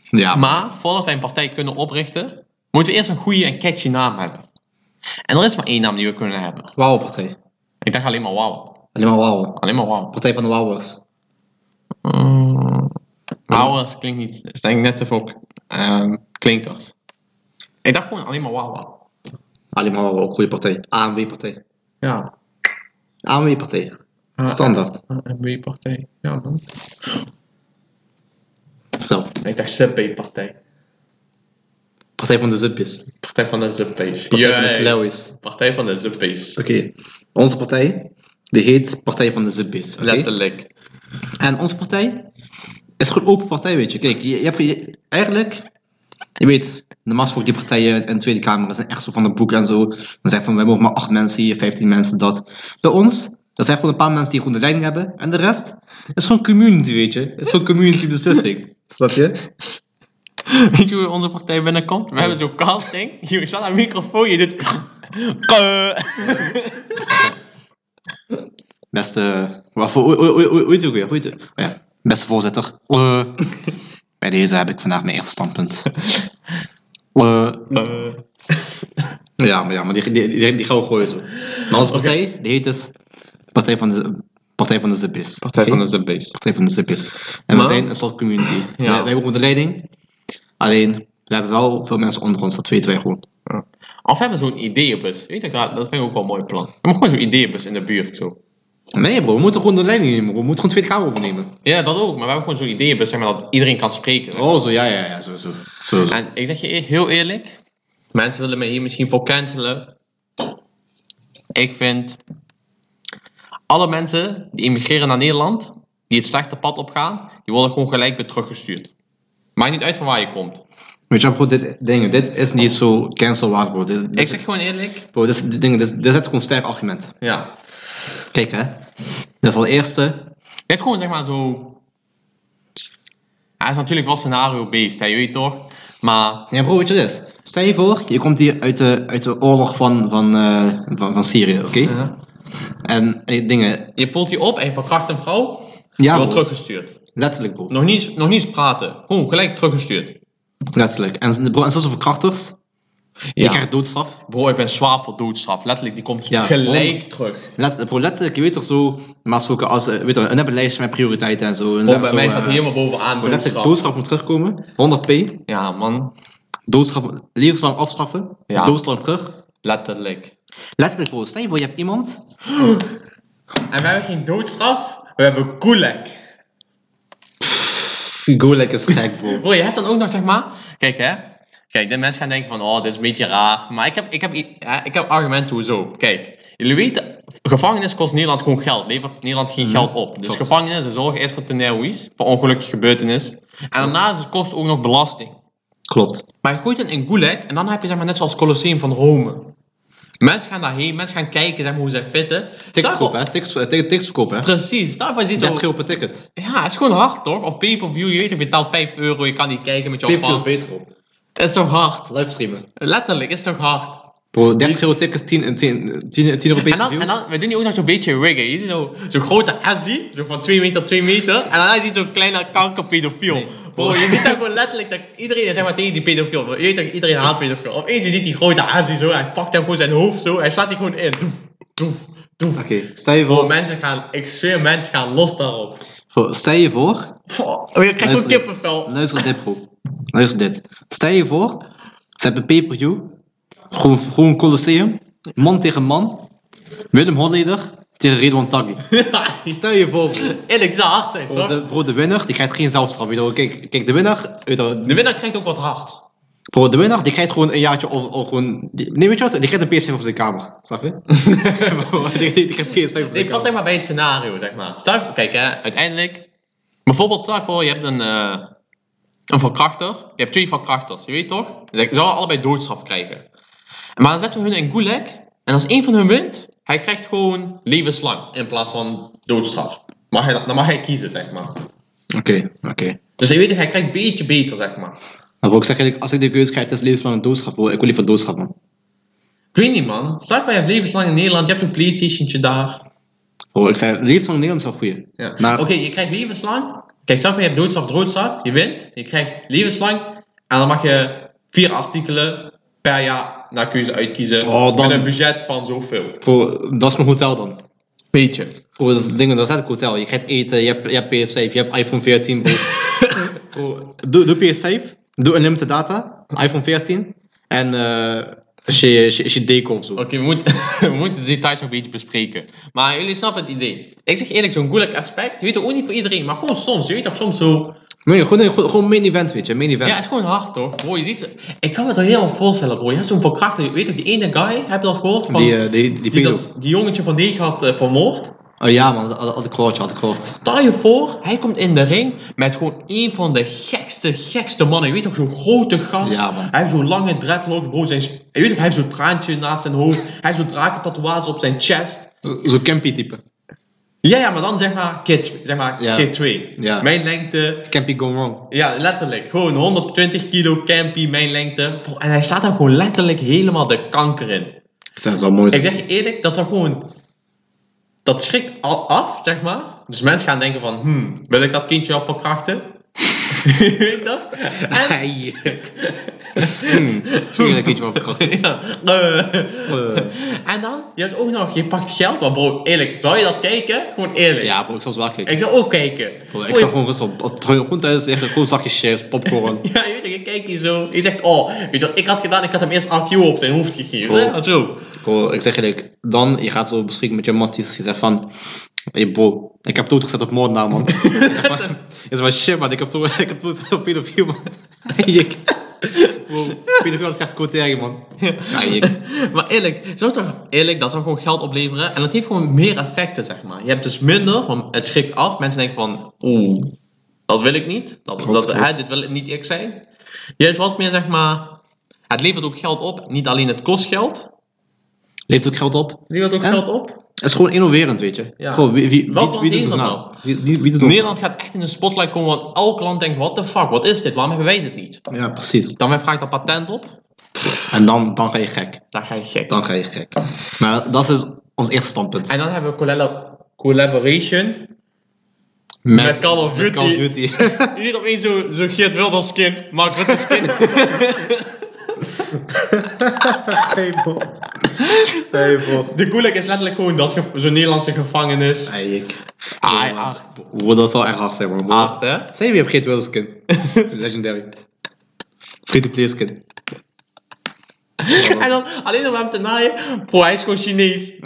[SPEAKER 2] Ja, maar...
[SPEAKER 1] maar voordat wij een partij kunnen oprichten, moeten we eerst een goede en catchy naam hebben. En er is maar één naam die we kunnen hebben.
[SPEAKER 2] Wauw-partij.
[SPEAKER 1] Ik dacht alleen maar wauw.
[SPEAKER 2] Alleen maar wauw.
[SPEAKER 1] Alleen maar wauw.
[SPEAKER 2] Partij van de wauwers.
[SPEAKER 1] Mm. Wauwers klinkt niet. Het is denk ik net te veel ehm, klinkers. Ik dacht gewoon alleen maar wawa.
[SPEAKER 2] Alleen maar wauw, ook goede partij. ANW-partij.
[SPEAKER 1] Ja. Ah,
[SPEAKER 2] ANW-partij. Standaard.
[SPEAKER 1] MW-partij. Ja, man.
[SPEAKER 2] Vertel.
[SPEAKER 1] Ik dacht ZP-partij.
[SPEAKER 2] Partij van de Zipjes.
[SPEAKER 1] Partij van de ZP's.
[SPEAKER 2] Partij van de
[SPEAKER 1] Juist.
[SPEAKER 2] Klauwies.
[SPEAKER 1] Partij van de ZP's.
[SPEAKER 2] Oké. Onze partij, die heet Partij van de Zipjes. oké?
[SPEAKER 1] Letterlijk.
[SPEAKER 2] En onze partij is gewoon open partij, weet je. Kijk, je, je hebt je- eigenlijk, je weet, normaal gesproken die partijen in de Tweede Kamer dat zijn echt zo van de boek en zo. Dan zijn van, wij mogen maar 8 mensen hier, 15 mensen dat. Bij ons, dat zijn gewoon een paar mensen die gewoon de leiding hebben. En de rest is gewoon community, weet je. Is gewoon community beslissing. Snap je?
[SPEAKER 1] Weet je hoe onze partij binnenkomt? We hebben zo'n casting. Je staat aan een microfoon, je doet... Keu.
[SPEAKER 2] Beste, wat voor, hoe- hoe hoe- hoe- hoe heet het ook weer? Hoe heet het? Oh ja, beste voorzitter. eh, bij deze heb ik vandaag mijn eigen standpunt. Eh,
[SPEAKER 1] Eh,
[SPEAKER 2] Ja, maar, ja, maar die, die, die, die gaan we gooien zo. Maar onze partij, die heet dus Partij van de, partij van de Zippis.
[SPEAKER 1] Partij van de
[SPEAKER 2] Oké?
[SPEAKER 1] ZP's.
[SPEAKER 2] Partij van de Zippis. En
[SPEAKER 1] Maar-
[SPEAKER 2] we zijn een soort community. Wij- Wij,
[SPEAKER 1] Ja.
[SPEAKER 2] hebben ook de leiding. Alleen, we hebben wel veel mensen onder ons, dat weten wij gewoon.
[SPEAKER 1] Of we hebben zo'n ideeënbus. Weet je, dat dat vind ik ook wel een mooi plan. We mogen gewoon zo'n ideeënbus in de buurt zo.
[SPEAKER 2] Nee bro, we moeten gewoon de leiding nemen. bro. We moeten gewoon Tweede Kamer overnemen.
[SPEAKER 1] Ja, dat ook. Maar we hebben gewoon zo'n ideeënbus, zeg maar, dat iedereen kan spreken. zeg maar.
[SPEAKER 2] Oh, zo, ja, ja, ja, zo, zo. zo, zo.
[SPEAKER 1] En ik zeg je eer- heel eerlijk, mensen willen me hier misschien voor cancelen. Ik vind alle mensen die immigreren naar Nederland, die het slechte pad opgaan, die worden gewoon gelijk weer teruggestuurd. Maakt niet uit van waar je komt.
[SPEAKER 2] Weet je wat, bro, dit, dingen, dit is niet zo cancelwaard, bro. Dit, dit-
[SPEAKER 1] Ik zeg gewoon eerlijk,
[SPEAKER 2] bro, dit, is- dit, dingen, dit, is- dit is echt gewoon een sterk argument.
[SPEAKER 1] ja.
[SPEAKER 2] Kijk, hè. Dat is al eerste.
[SPEAKER 1] Je hebt gewoon zeg maar zo. Ja, het is natuurlijk wel scenario-based, hè, je weet toch? Maar
[SPEAKER 2] Ja, bro, weet je wat het is? Stel je voor, je komt hier uit de, uit de oorlog van, van, eh, van, van Syrië, oké? En eh, dingen,
[SPEAKER 1] je poelt die op en je verkracht een vrouw,
[SPEAKER 2] ja,
[SPEAKER 1] wordt
[SPEAKER 2] bro,
[SPEAKER 1] teruggestuurd.
[SPEAKER 2] letterlijk, bro.
[SPEAKER 1] Nog niet, eens- nog niet eens praten, gewoon gelijk teruggestuurd.
[SPEAKER 2] Letterlijk. En, bro, en zoals de verkrachters, je krijgt doodstraf.
[SPEAKER 1] Bro, ik ben zwaar voor doodstraf. Letterlijk, die komt
[SPEAKER 2] Ja,
[SPEAKER 1] gelijk terug.
[SPEAKER 2] Let, bro, letterlijk, je weet toch zo, maar zo, als, eh, weet je, een lijstje met prioriteiten en zo. En
[SPEAKER 1] Bro,
[SPEAKER 2] zo,
[SPEAKER 1] Oh, bij mij
[SPEAKER 2] eh,
[SPEAKER 1] staat helemaal bovenaan
[SPEAKER 2] bro,
[SPEAKER 1] doodstraf.
[SPEAKER 2] letterlijk, doodstraf moet terugkomen, 100p,
[SPEAKER 1] Ja, man.
[SPEAKER 2] doodstraf, levenslang afstraffen,
[SPEAKER 1] Ja.
[SPEAKER 2] doodstraf terug.
[SPEAKER 1] Letterlijk.
[SPEAKER 2] Letterlijk, bro, stel je voor, je hebt iemand,
[SPEAKER 1] En we hebben geen doodstraf, we hebben koelek.
[SPEAKER 2] go lekker gek, bro.
[SPEAKER 1] Bro, je hebt dan ook nog, zeg maar... Kijk, hè. Kijk, de mensen gaan denken van, oh, dit is een beetje raar. Maar ik heb, ik heb, i- hè, ik heb argumenten hoezo. Kijk, jullie weten, gevangenis kost Nederland gewoon geld. Levert Nederland geen geld op. Dus
[SPEAKER 2] Mhm. klopt.
[SPEAKER 1] gevangenis, ze zorgen eerst voor teneries, voor ongelukkige gebeurtenis. En daarna het kost ook nog belasting.
[SPEAKER 2] Klopt.
[SPEAKER 1] Maar je gooit het in Gulag en dan heb je zeg maar net zoals Colosseum van Rome. Mensen gaan daarheen, mensen gaan kijken zeg maar, hoe zij fitten.
[SPEAKER 2] Tickets
[SPEAKER 1] Stel voor-
[SPEAKER 2] kopen, hè, tickets, eh, tickets kopen, hè.
[SPEAKER 1] Precies, daarvoor is iets
[SPEAKER 2] 30
[SPEAKER 1] zo.
[SPEAKER 2] euro per ticket.
[SPEAKER 1] Ja, het is gewoon hard toch? Of pay-per-view, je weet, je betaalt 5 euro, je kan niet kijken met jouw
[SPEAKER 2] Pay-per-view is
[SPEAKER 1] pan.
[SPEAKER 2] beter, bro.
[SPEAKER 1] Het is toch hard?
[SPEAKER 2] Livestreamen.
[SPEAKER 1] Letterlijk, het is toch hard?
[SPEAKER 2] Bro, 30 euro tickets, 10, 10, 10, 10 euro
[SPEAKER 1] En dan, en dan, we doen die ook nog zo'n beetje reggae. Je ziet zo- zo'n grote Azzie, zo van 2 meter, 2 meter. En daarna zie je zo'n kleine kankerpedofiel. Bro, je ziet daar gewoon letterlijk dat iedereen, zeg maar tegen die pedofiel, je weet toch, iedereen haat pedofiel. Opeens je ziet die grote Azzie zo, hij pakt hem gewoon zijn hoofd zo, hij slaat die gewoon in. Doef, doef, doef.
[SPEAKER 2] Oké, stel je
[SPEAKER 1] Bro,
[SPEAKER 2] voor,
[SPEAKER 1] mensen gaan, ik zweer, mensen gaan los daarop.
[SPEAKER 2] bro, stel je voor,
[SPEAKER 1] Oh, je krijgt ook
[SPEAKER 2] Luister.
[SPEAKER 1] kippenvel.
[SPEAKER 2] luister dit bro, luister dit. Stel je voor, ze hebben pay-per-view, gewoon, gewoon Colosseum, Man tegen man. Willem Holleder tegen Ridwan Taghi. Stel je voor, bro.
[SPEAKER 1] Eerlijk, zou hard zijn,
[SPEAKER 2] Bro,
[SPEAKER 1] toch?
[SPEAKER 2] de, bro, de winnaar die krijgt geen zelfstraf. weet je wel. Kijk, kijk, de winnaar. weet je wel,
[SPEAKER 1] De winnaar krijgt ook wat hard.
[SPEAKER 2] Bro, de winnaar die krijgt gewoon een jaartje of, of gewoon. die- nee, weet je wat? Die krijgt een PS5 op de kamer. Snap je? die, die, die krijgt PS5 op de
[SPEAKER 1] Ik pas
[SPEAKER 2] kamer.
[SPEAKER 1] zeg maar bij het scenario, zeg maar. Stel, je- kijk hè, uiteindelijk. Bijvoorbeeld, stel je voor, je hebt een, eh, een verkrachter. Je hebt twee verkrachters, je weet toch? Ze zouden allebei doodstraf krijgen. Maar dan zetten we hun in gulag. En als één van hun wint, hij krijgt gewoon levenslang in plaats van doodstraf. Mag hij, dat- dan mag hij kiezen, zeg maar.
[SPEAKER 2] Oké, oké.
[SPEAKER 1] Dus je weet, hij krijgt een beetje beter, zeg maar.
[SPEAKER 2] Dan wil ik zeggen, als ik de keuze krijg, het is levenslang een doodschap. Bro. Ik wil liever doodschap, man.
[SPEAKER 1] Ik weet niet, man. Stel je voor, je hebt levenslang in Nederland, je hebt een PlayStationtje daar.
[SPEAKER 2] Bro, ik zei, levenslang in Nederland is wel goeie.
[SPEAKER 1] Ja.
[SPEAKER 2] Maar-
[SPEAKER 1] Oké, je krijgt levenslang. Kijk, zelf je hebt doodstraf, doodstraf. Je wint. Je krijgt levenslang. En dan mag je vier artikelen per jaar naar keuze uitkiezen.
[SPEAKER 2] Oh, dan-
[SPEAKER 1] Met een budget van zoveel.
[SPEAKER 2] Bro, dat is mijn hotel dan.
[SPEAKER 1] Weet je.
[SPEAKER 2] Bro, dat is dingen, dat is het hotel. Je krijgt eten, je hebt, je hebt PS5, je hebt iPhone 14, bro. Bro, doe, doe PS5, doe unlimited data, iPhone 14. En eh is je, is je, is je deco of zo.
[SPEAKER 1] Oké, we, moeten- we moeten de details nog een beetje bespreken. Maar jullie snappen het idee. Ik zeg eerlijk, zo'n moeilijk aspect, je weet het ook niet voor iedereen, maar gewoon soms. Je weet toch soms zo,
[SPEAKER 2] Nee, gewoon, gewoon, gewoon main event, weet je, main event.
[SPEAKER 1] Ja, het is gewoon hard toch? Bro, je ziet ze- Ik kan me het er helemaal voorstellen, bro. Je hebt zo'n verkrachter. Weet je, die ene guy, heb je dat gehoord? Van,
[SPEAKER 2] die, eh, die, die,
[SPEAKER 1] die,
[SPEAKER 2] pedo.
[SPEAKER 1] dat- die jongetje van 9 had eh, vermoord.
[SPEAKER 2] Oh ja man, dat had had ik gehoord, had ik gehoord.
[SPEAKER 1] Stel je voor, hij komt in de ring met gewoon een van de gekste, gekste mannen. Je weet toch, zo'n grote gast.
[SPEAKER 2] Ja, man.
[SPEAKER 1] Hij heeft zo'n lange dreadlocks, bro. Zijn, sp- je weet toch, hij heeft zo'n traantje naast zijn hoofd. Hij heeft zo'n drakentatoeage op zijn chest.
[SPEAKER 2] Zo'n campy type.
[SPEAKER 1] Ja, ja, maar dan zeg maar kid, zeg maar
[SPEAKER 2] Ja.
[SPEAKER 1] kid 2.
[SPEAKER 2] Ja.
[SPEAKER 1] Mijn lengte,
[SPEAKER 2] Campy gone wrong.
[SPEAKER 1] Ja, letterlijk. Gewoon 120 kilo campy, mijn lengte. Bro, en hij staat daar gewoon letterlijk helemaal de kanker in.
[SPEAKER 2] Dat zou mooi
[SPEAKER 1] Ik zeg je eerlijk, dat zou gewoon... Dat schrikt al af, zeg maar. Dus mensen gaan denken van, hmm, wil ik dat kindje wel verkrachten? Weet je dat? En...
[SPEAKER 2] Hey. Hmm, Vind je dat kindje wel verkracht?
[SPEAKER 1] Ja. eh.
[SPEAKER 2] Eh.
[SPEAKER 1] En dan, je hebt ook nog, je pakt geld. Maar bro, eerlijk, zou je dat kijken? Gewoon eerlijk.
[SPEAKER 2] Ja bro, ik zal zwaar kijken.
[SPEAKER 1] Ik zou ook kijken.
[SPEAKER 2] Bro, Ik
[SPEAKER 1] Bro,
[SPEAKER 2] zag gewoon rustig op, op, gewoon thuis liggen, gewoon zakje chips, popcorn.
[SPEAKER 1] Ja, je weet toch, je kijkt hier zo. Je zegt, oh, weet je wat ik had gedaan? Ik had hem eerst AQ op zijn hoofd gegeven.
[SPEAKER 2] Oh.
[SPEAKER 1] Ja, zo.
[SPEAKER 2] Bro, ik zeg eerlijk, dan, je gaat zo beschikken met je matties, je zegt van, hey bro, ik heb toegezet op moordenaar man. je zegt van, shit man, ik heb toe- ik heb toegezet op pedofiel man. Jik. Bro, pedofiel is echt goed tegen man. Ja, jik.
[SPEAKER 1] maar eerlijk, zou toch, eerlijk, dat zou gewoon geld opleveren. En dat heeft gewoon meer effecten, zeg maar. Je hebt dus minder, want het schrikt af. Mensen denken van, oeh, dat wil ik niet. Dat,
[SPEAKER 2] Klopt,
[SPEAKER 1] dat,
[SPEAKER 2] klopt.
[SPEAKER 1] hè, dit wil niet ik zijn. Je hebt wat meer, zeg maar... Het levert ook geld op. Niet alleen het kost geld. Het
[SPEAKER 2] Leeft ook geld op.
[SPEAKER 1] levert ook
[SPEAKER 2] En?
[SPEAKER 1] geld op.
[SPEAKER 2] Het is gewoon innoverend, weet je.
[SPEAKER 1] Ja.
[SPEAKER 2] Bro, wie, wie,
[SPEAKER 1] Welk land
[SPEAKER 2] wie, wie doet
[SPEAKER 1] heeft
[SPEAKER 2] het
[SPEAKER 1] dat
[SPEAKER 2] nou?
[SPEAKER 1] nou?
[SPEAKER 2] Wie, wie, wie doet het
[SPEAKER 1] Nederland gaat echt in de spotlight komen. Want elk land denkt, what the fuck, wat is dit? Waarom hebben wij dit niet?
[SPEAKER 2] nou? Ja, precies.
[SPEAKER 1] Dan vraagt dat patent op.
[SPEAKER 2] En dan, dan ga je gek.
[SPEAKER 1] Dan ga je gek.
[SPEAKER 2] Dan ga je gek. Maar dat is ons eerste standpunt.
[SPEAKER 1] En dan hebben we collab- collaboration. met Call of
[SPEAKER 2] met Call of
[SPEAKER 1] Duty.
[SPEAKER 2] Duty.
[SPEAKER 1] Niet opeens zo, zo Geert Wilders skin, Mark Rutte skin. De Gulag is letterlijk gewoon dat ge- zo'n Nederlandse gevangenis.
[SPEAKER 2] Eik.
[SPEAKER 1] Ah,
[SPEAKER 2] Ah,
[SPEAKER 1] acht.
[SPEAKER 2] Bro, dat zal echt hard Ah. zijn, man.
[SPEAKER 1] Acht, hè?
[SPEAKER 2] Zeg je, je hebt geen Wilde skin. Legendary. Free-to-play skin.
[SPEAKER 1] En dan alleen om hem te naaien, bro, hij is gewoon Chinees.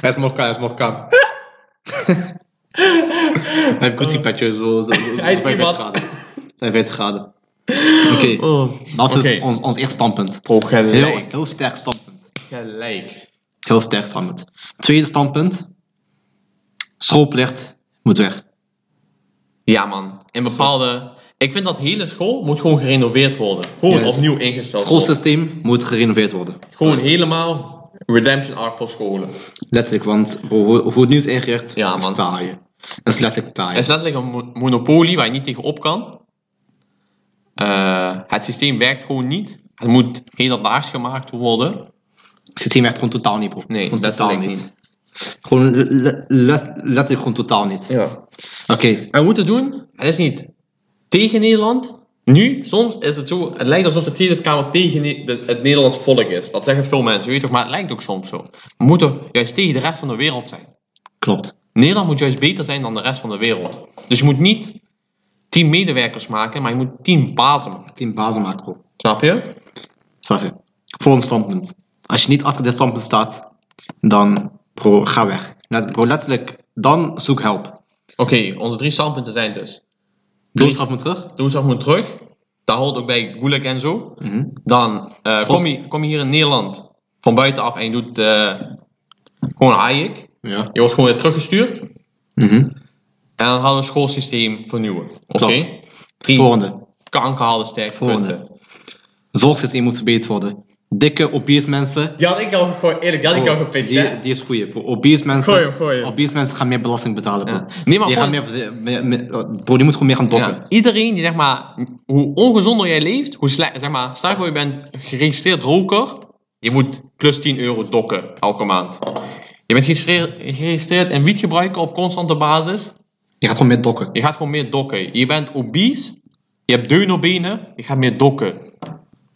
[SPEAKER 2] Hij is Morkan, hij is Morkan. hij heeft Gucci petje zo. zo, zo
[SPEAKER 1] Eh, Hij is
[SPEAKER 2] zo bij
[SPEAKER 1] iemand.
[SPEAKER 2] 40 graden. Bij 40 graden. Oké,
[SPEAKER 1] Oh.
[SPEAKER 2] dat is
[SPEAKER 1] Oké.
[SPEAKER 2] ons, ons eerste standpunt.
[SPEAKER 1] Bro,
[SPEAKER 2] Heel, heel sterk standpunt.
[SPEAKER 1] Gelijk.
[SPEAKER 2] Heel sterk standpunt. Tweede standpunt. Schoolplicht moet weg.
[SPEAKER 1] Ja, man. In bepaalde... Ik vind dat hele school moet gewoon gerenoveerd worden. Gewoon
[SPEAKER 2] Juist.
[SPEAKER 1] opnieuw ingesteld
[SPEAKER 2] Het
[SPEAKER 1] worden.
[SPEAKER 2] schoolsysteem moet gerenoveerd worden.
[SPEAKER 1] Gewoon helemaal redemption arc voor scholen.
[SPEAKER 2] Letterlijk, want hoe, hoe- hoe het nu is ingericht,
[SPEAKER 1] Ja,
[SPEAKER 2] is
[SPEAKER 1] man.
[SPEAKER 2] taai. Dat is letterlijk taai.
[SPEAKER 1] Het is letterlijk een mo- monopolie waar je niet tegen op kan. Eh, het systeem werkt gewoon niet. Het moet hedendaags gemaakt worden.
[SPEAKER 2] Het systeem werkt gewoon totaal niet, bro.
[SPEAKER 1] Nee,
[SPEAKER 2] gewoon
[SPEAKER 1] letterlijk
[SPEAKER 2] Gewoon le- le- le- letterlijk gewoon totaal niet.
[SPEAKER 1] Ja.
[SPEAKER 2] Oké,
[SPEAKER 1] En we moeten doen, het is niet tegen Nederland. Nu, soms is het zo, het lijkt alsof de Tweede Kamer tegen Ne- de- het Nederlands volk is. Dat zeggen veel mensen, weet je toch, maar het lijkt ook soms zo. We moeten juist tegen de rest van de wereld zijn.
[SPEAKER 2] klopt.
[SPEAKER 1] Nederland moet juist beter zijn dan de rest van de wereld. Dus je moet niet tien medewerkers maken, maar je moet tien bazen maken.
[SPEAKER 2] Team bazen maken, bro.
[SPEAKER 1] Snap je?
[SPEAKER 2] Snap je? Volgend standpunt. Als je niet achter dit standpunt staat, dan bro, ga weg. Let- Bro, letterlijk, dan zoek help.
[SPEAKER 1] Oké, onze drie standpunten zijn dus.
[SPEAKER 2] Doelstraf moet terug.
[SPEAKER 1] Doelstraf moet terug. Dat hoort ook bij Gulik en zo.
[SPEAKER 2] Mhm.
[SPEAKER 1] Dan eh,
[SPEAKER 2] Schot.
[SPEAKER 1] kom, je, kom je hier in Nederland van buitenaf en je doet eh, gewoon AIK.
[SPEAKER 2] Ja.
[SPEAKER 1] Je wordt gewoon weer teruggestuurd.
[SPEAKER 2] Mhm.
[SPEAKER 1] En dan gaan we het schoolsysteem vernieuwen. Oké?
[SPEAKER 2] Klopt.
[SPEAKER 1] Drie
[SPEAKER 2] Volgende.
[SPEAKER 1] kanker halen sterke
[SPEAKER 2] Volgende.
[SPEAKER 1] punten.
[SPEAKER 2] Zorgsysteem moet verbeterd worden. Dikke, obese mensen.
[SPEAKER 1] Die had ik al, gewoon eerlijk, die had ik al
[SPEAKER 2] Bro,
[SPEAKER 1] gepitcht,
[SPEAKER 2] die,
[SPEAKER 1] hè?
[SPEAKER 2] die is goeie. Bro, obese mensen.
[SPEAKER 1] Gooi hem, gooi hem.
[SPEAKER 2] Obese mensen gaan meer belasting betalen, bro.
[SPEAKER 1] Ja. Nee, maar
[SPEAKER 2] die gaan
[SPEAKER 1] gewoon-
[SPEAKER 2] meer, verze- meer- meer- bro, die moet gewoon meer gaan dokken.
[SPEAKER 1] Ja, iedereen die zeg maar, hoe ongezonder jij leeft, hoe slecht, zeg maar, stel je voor je bent geregistreerd roker, je moet plus 10 euro dokken elke maand. Je bent geregistreerd, geregistreerd in wietgebruiken op constante basis,
[SPEAKER 2] Je gaat gewoon meer dokken.
[SPEAKER 1] je gaat gewoon meer dokken. Je bent obese, je hebt deunerbenen, je gaat meer dokken.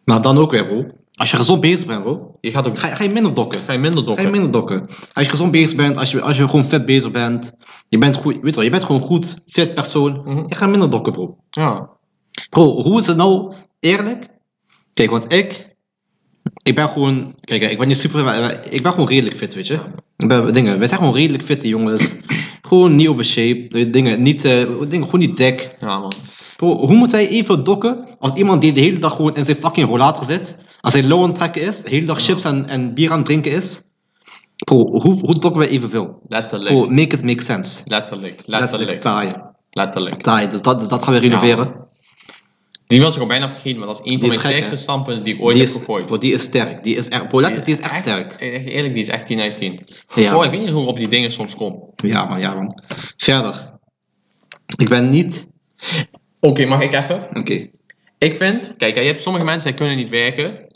[SPEAKER 2] Maar dan ook weer, bro. Als je gezond bezig bent, bro,
[SPEAKER 1] Je gaat ook
[SPEAKER 2] ga, ga je minder dokken.
[SPEAKER 1] ga je minder
[SPEAKER 2] Ga je
[SPEAKER 1] dokken.
[SPEAKER 2] minder dokken. Als je gezond bezig bent, als je, als je gewoon vet bezig bent, je bent, goed, weet je wel, je bent gewoon een goed, fit persoon,
[SPEAKER 1] Mhm.
[SPEAKER 2] je gaat minder dokken, bro.
[SPEAKER 1] Ja.
[SPEAKER 2] Bro, hoe is het nou eerlijk? Kijk, want ik, ik ben gewoon, kijk, ik ben niet super, maar ik ben gewoon redelijk fit, weet je. Ik ben, dingen, wij zijn gewoon redelijk fitte jongens. gewoon niet over shape, eh, dingen, niet, eh, dingen, gewoon niet dik.
[SPEAKER 1] ja, man.
[SPEAKER 2] Bro, hoe moet hij even dokken als iemand die de hele dag gewoon in zijn fucking rollator zit, als hij low aan het trekken is, de hele dag chips en, en bier aan het drinken is? Bro, hoe, hoe dokken wij evenveel?
[SPEAKER 1] Letterlijk.
[SPEAKER 2] Bro, make it make sense.
[SPEAKER 1] Letterlijk,
[SPEAKER 2] Letterlijk,
[SPEAKER 1] letterlijk,
[SPEAKER 2] taaien.
[SPEAKER 1] letterlijk.
[SPEAKER 2] Taaien, dus dat, dus dat gaan we renoveren.
[SPEAKER 1] Die was ik al bijna vergeten, maar dat is een van
[SPEAKER 2] is
[SPEAKER 1] mijn
[SPEAKER 2] gek,
[SPEAKER 1] sterkste
[SPEAKER 2] hè?
[SPEAKER 1] standpunten die ik ooit
[SPEAKER 2] die,
[SPEAKER 1] heb
[SPEAKER 2] is,
[SPEAKER 1] gegooid.
[SPEAKER 2] bro, die is sterk, die is, echt- bro, letterlijk, die is echt sterk.
[SPEAKER 1] Echt eerlijk, die is echt 10 uit 10.
[SPEAKER 2] Ja.
[SPEAKER 1] Oh, ik weet niet hoe ik op die dingen soms kom. Oké,
[SPEAKER 2] Ja man, ja man. Verder. Ik ben niet...
[SPEAKER 1] mag ik even?
[SPEAKER 2] Oké.
[SPEAKER 1] Ik vind, kijk, hè, je hebt sommige mensen die kunnen niet werken.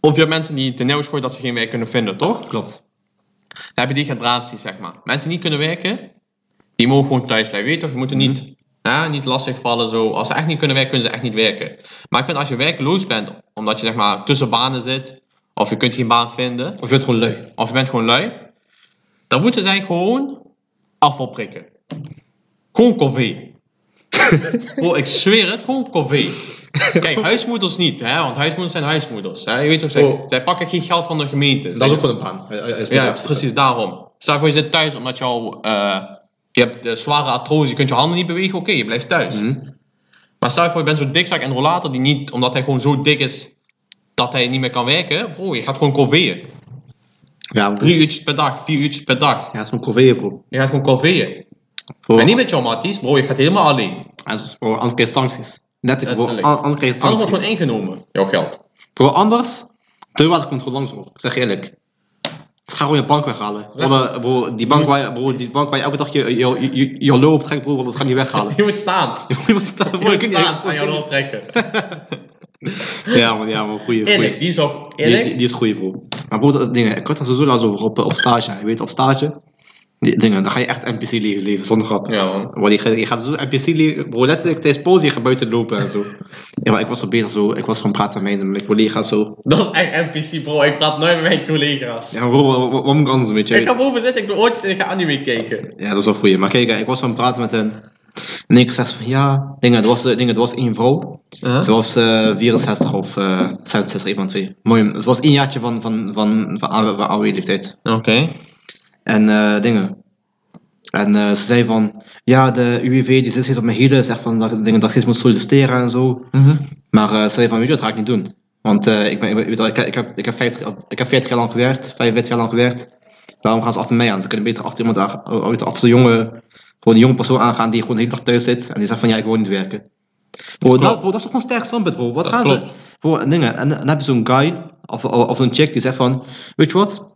[SPEAKER 1] Of je hebt mensen die ten nieuws gooien dat ze geen werk kunnen vinden, toch?
[SPEAKER 2] Klopt.
[SPEAKER 1] Dan heb je die gradatie, zeg maar. Mensen die niet kunnen werken, die mogen gewoon thuis blijven. Weet je toch, je moet er niet,
[SPEAKER 2] Mhm.
[SPEAKER 1] hè, niet lastig vallen zo. Als ze echt niet kunnen werken, kunnen ze echt niet werken. Maar ik vind als je werkloos bent, omdat je zeg maar tussen banen zit, of je kunt geen baan vinden,
[SPEAKER 2] Of je bent gewoon lui.
[SPEAKER 1] of je bent gewoon lui, dan moeten zij gewoon afval prikken. Gewoon koffie. Bro, ik zweer het, gewoon koffie. Kijk, huismoeders niet, hè, want huismoeders zijn huismoeders. Hè. Je weet toch, zij,
[SPEAKER 2] Oh.
[SPEAKER 1] zij pakken geen geld van de gemeente.
[SPEAKER 2] Dat is ook gewoon een baan. Ja, ja,
[SPEAKER 1] Ja, precies daarom. Stel voor je zit thuis omdat je al, eh, je hebt eh, zware artrose, je kunt je handen niet bewegen, oké, je blijft thuis. Maar stel je voor je bent zo'n dikzak en rollator die niet, omdat hij gewoon zo dik is, dat hij niet meer kan werken. Bro, je gaat gewoon corveren.
[SPEAKER 2] Ja, bro.
[SPEAKER 1] Drie uurtjes per dag, vier uurtjes per dag.
[SPEAKER 2] Ja, dat is gewoon corvée, bro.
[SPEAKER 1] Je gaat gewoon corveren.
[SPEAKER 2] Bro,
[SPEAKER 1] En niet met jouw matties, bro, je gaat helemaal alleen.
[SPEAKER 2] anders, bro, anders krijg je sancties. Letterlijk, bro.
[SPEAKER 1] Letterlijk.
[SPEAKER 2] an- Anders krijg je
[SPEAKER 1] Anders wordt
[SPEAKER 2] sancties.
[SPEAKER 1] gewoon ingenomen, jouw geld.
[SPEAKER 2] Bro, anders... Deurwaardecontrole langs, bro. Ik zeg je eerlijk. Ik ga gewoon je bank weghalen.
[SPEAKER 1] Ja.
[SPEAKER 2] Bro, bro, die bank
[SPEAKER 1] Moet-
[SPEAKER 2] waar, je- bro, die bank waar je elke dag je, je, je, je, je lul op trekt, bro, want dat ga je niet weghalen.
[SPEAKER 1] Je moet staan.
[SPEAKER 2] Je moet staan, bro,
[SPEAKER 1] Je
[SPEAKER 2] je
[SPEAKER 1] moet
[SPEAKER 2] kunt
[SPEAKER 1] staan
[SPEAKER 2] niet-
[SPEAKER 1] aan jouw rol trekken.
[SPEAKER 2] Ja man, ja man, goeie, goeie.
[SPEAKER 1] Eerlijk, die is ook
[SPEAKER 2] Die, die,
[SPEAKER 1] eerlijk.
[SPEAKER 2] die is goeie bro. Maar bro, dat dingen, ik had daar sowieso laatst over op, eh, op stage. Je weet, op stage, die dingen, dan ga je echt NPC leven, leven zonder grap.
[SPEAKER 1] Ja man.
[SPEAKER 2] Want je, gaat- je gaat zo NPC leven, bro, letterlijk tijdens pauze, je gaat buiten lopen en zo. ja, maar ik was zo bezig zo, ik was gewoon praten met mijn, mijn collega's zo.
[SPEAKER 1] Dat is echt NPC bro, ik praat nooit met mijn collega's.
[SPEAKER 2] Ja, bro, wat, wat- wat moet ik anders doen, weet je?
[SPEAKER 1] Ik ga boven zitten, ik doe oortjes en ik ga anime kijken.
[SPEAKER 2] Ja, dat is wel goeie. Maar kijk, eh, ik was aan het praten met hen. En ik zeg van, ja, dingen, er was, eh, dingen, er was één vrouw. Ze was eh, 64 of eh 66, een van twee. Mooi, ze was één jaartje van, van, van, van, oude- van oude leeftijd.
[SPEAKER 1] Oké.
[SPEAKER 2] En eh, dingen. En eh, ze zei van, ja, de UWV die zit steeds op mijn hielen, zegt van dat, ik- dingen, dat ik steeds moet solliciteren en zo.
[SPEAKER 1] Mhm.
[SPEAKER 2] Maar eh, ze zei van, weet je, wat, dat ga ik niet doen. Want eh, ik, ben, ik, ben- weet je wel, ik, ik heb, ik, heb 50, jaar- ik heb 40 jaar lang gewerkt, 45 jaar lang gewerkt. Waarom gaan ze achter mij aan? Ze kunnen beter achter iemand aan, eh, weet je, achter zo'n jonge, gewoon een jonge persoon aangaan die gewoon de hele dag thuis zit. En die zegt van, ja, ik wil niet werken. Bro, dat,
[SPEAKER 1] Klopt.
[SPEAKER 2] bro, dat is toch gewoon sterk standpunt, bro. Wat
[SPEAKER 1] Dat
[SPEAKER 2] gaan
[SPEAKER 1] klopt.
[SPEAKER 2] ze... Bro, en dingen. En dan heb je zo'n guy, of, of, of zo'n chick die zegt van, weet je wat?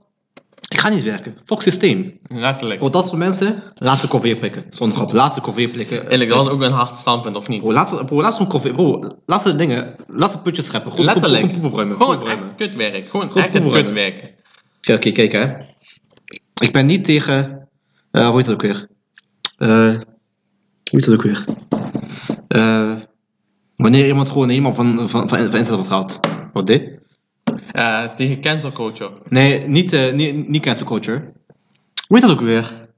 [SPEAKER 2] Ik ga niet werken. Fuck systeem.
[SPEAKER 1] Letterlijk.
[SPEAKER 2] Voor dat soort mensen, laat ze koffie prikken. Zonder grap, laat ze koffie prikken.
[SPEAKER 1] Eerlijk, dat was ook een hard standpunt, of niet?
[SPEAKER 2] Bro, laat ze, bro, laat ze een koffie, bro, laat ze dingen, laat ze putjes scheppen. Goed,
[SPEAKER 1] Letterlijk.
[SPEAKER 2] Goed, goed, goed, goed,
[SPEAKER 1] Gewoon echt kutwerk. Gewoon
[SPEAKER 2] Goed
[SPEAKER 1] echt het
[SPEAKER 2] voorbereiden.
[SPEAKER 1] kutwerk.
[SPEAKER 2] Kijk, kijk, kijk, hè. Ik ben niet tegen, eh hoe heet dat ook weer? Eh, hoe heet dat ook weer? Eh, wanneer iemand gewoon helemaal van, van, van, van internet wordt gehaald. Wat dit?
[SPEAKER 1] Eh, tegen cancel culture.
[SPEAKER 2] Nee, niet, eh, niet, niet cancel culture. Hoe heet dat ook weer?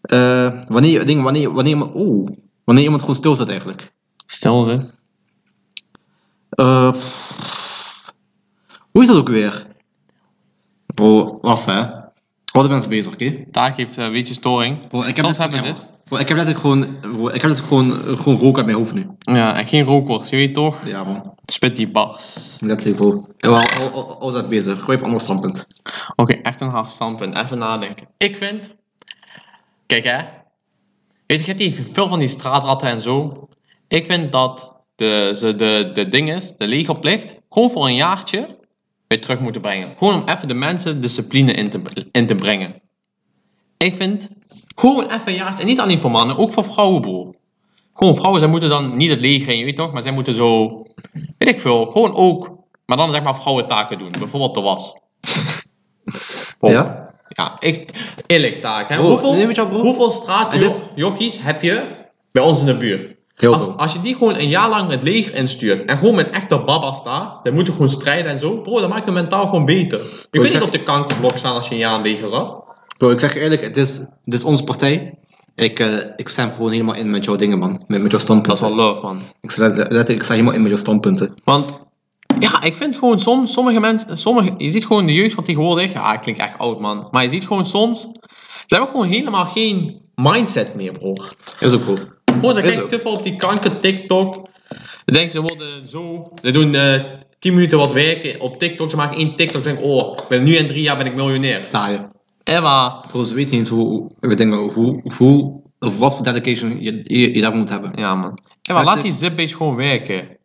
[SPEAKER 2] Eh, wanneer, ding, wanneer, wanneer, iemand- oeh, wanneer iemand gewoon stilstaat eigenlijk.
[SPEAKER 1] Stel ze.
[SPEAKER 2] Eh, pff. hoe is dat ook weer? Bro, af hè. Wat mensen bezig, oké?
[SPEAKER 1] Taak heeft eh, een beetje storing.
[SPEAKER 2] Bro, ik
[SPEAKER 1] Soms
[SPEAKER 2] letterlijk-
[SPEAKER 1] hebben we dit.
[SPEAKER 2] Bro, ik heb letterlijk gewoon, bro, ik heb letterlijk gewoon, gewoon rook uit mijn hoofd nu.
[SPEAKER 1] Ja, en geen rokers, je weet toch?
[SPEAKER 2] Ja man,
[SPEAKER 1] Spit die bars.
[SPEAKER 2] letterlijk bro. Ik was al, al, al zat bezig, gooi even een ander standpunt.
[SPEAKER 1] Oké, echt een hard standpunt. Even nadenken. Ik vind... Kijk hè. Weet je, je hebt hier veel van die straatratten en zo. Ik vind dat de, ze de, de ding is, de legerplicht, gewoon voor een jaartje weer terug moeten brengen. Gewoon om even de mensen discipline in te, in te brengen. Ik vind, gewoon even een jaartje, en niet alleen voor mannen, ook voor vrouwen bro. Gewoon vrouwen, zij moeten dan niet het leger in, je weet toch, maar zij moeten zo, weet ik veel, gewoon ook, maar dan zeg maar vrouwentaken doen. Bijvoorbeeld de was. Bro,
[SPEAKER 2] Ja?
[SPEAKER 1] ja, ik, eerlijk taak. Hè.
[SPEAKER 2] Bro,
[SPEAKER 1] hoeveel,
[SPEAKER 2] neem het jou, bro.
[SPEAKER 1] hoeveel
[SPEAKER 2] Het is-
[SPEAKER 1] straatjokkies heb je bij ons in de buurt?
[SPEAKER 2] Heel
[SPEAKER 1] Als,
[SPEAKER 2] veel.
[SPEAKER 1] als je die gewoon een jaar lang het leger instuurt en gewoon met echte babba's staat, dan moeten gewoon strijden en zo, bro, dan maakt het mentaal gewoon beter. Je kunt
[SPEAKER 2] zeg-
[SPEAKER 1] niet op de kankerblok staan als je een jaar in het leger zat.
[SPEAKER 2] Bro, ik zeg je eerlijk, het is, dit is onze partij. Ik, eh, ik stem gewoon helemaal in met jouw dingen man, met, met jouw standpunten.
[SPEAKER 1] love, man.
[SPEAKER 2] Ik sta, letterlijk, ik sta helemaal in met jouw standpunten.
[SPEAKER 1] Want ja, ik vind gewoon soms, sommige mensen, sommige, je ziet gewoon de jeugd van tegenwoordig, ja, ik klink echt oud man, maar je ziet gewoon soms, ze hebben gewoon helemaal geen mindset meer, broer.
[SPEAKER 2] Is ook bro.
[SPEAKER 1] Bro, ze
[SPEAKER 2] Is
[SPEAKER 1] kijken
[SPEAKER 2] ook.
[SPEAKER 1] te veel op die kanker TikTok. Ze denken ze worden zo, ze doen eh 10 minuten wat werken op TikTok, ze maken één TikTok, denken oh, ik ben nu in drie jaar ben ik miljonair.
[SPEAKER 2] Taaien.
[SPEAKER 1] Emma.
[SPEAKER 2] Bro, ze weten niet hoe, hoe- we denken, hoe, hoe, of wat voor dedication je, je, je daar moet hebben.
[SPEAKER 1] Ja man. Emma,
[SPEAKER 2] Maar
[SPEAKER 1] laat
[SPEAKER 2] het-
[SPEAKER 1] die zipbeest gewoon werken.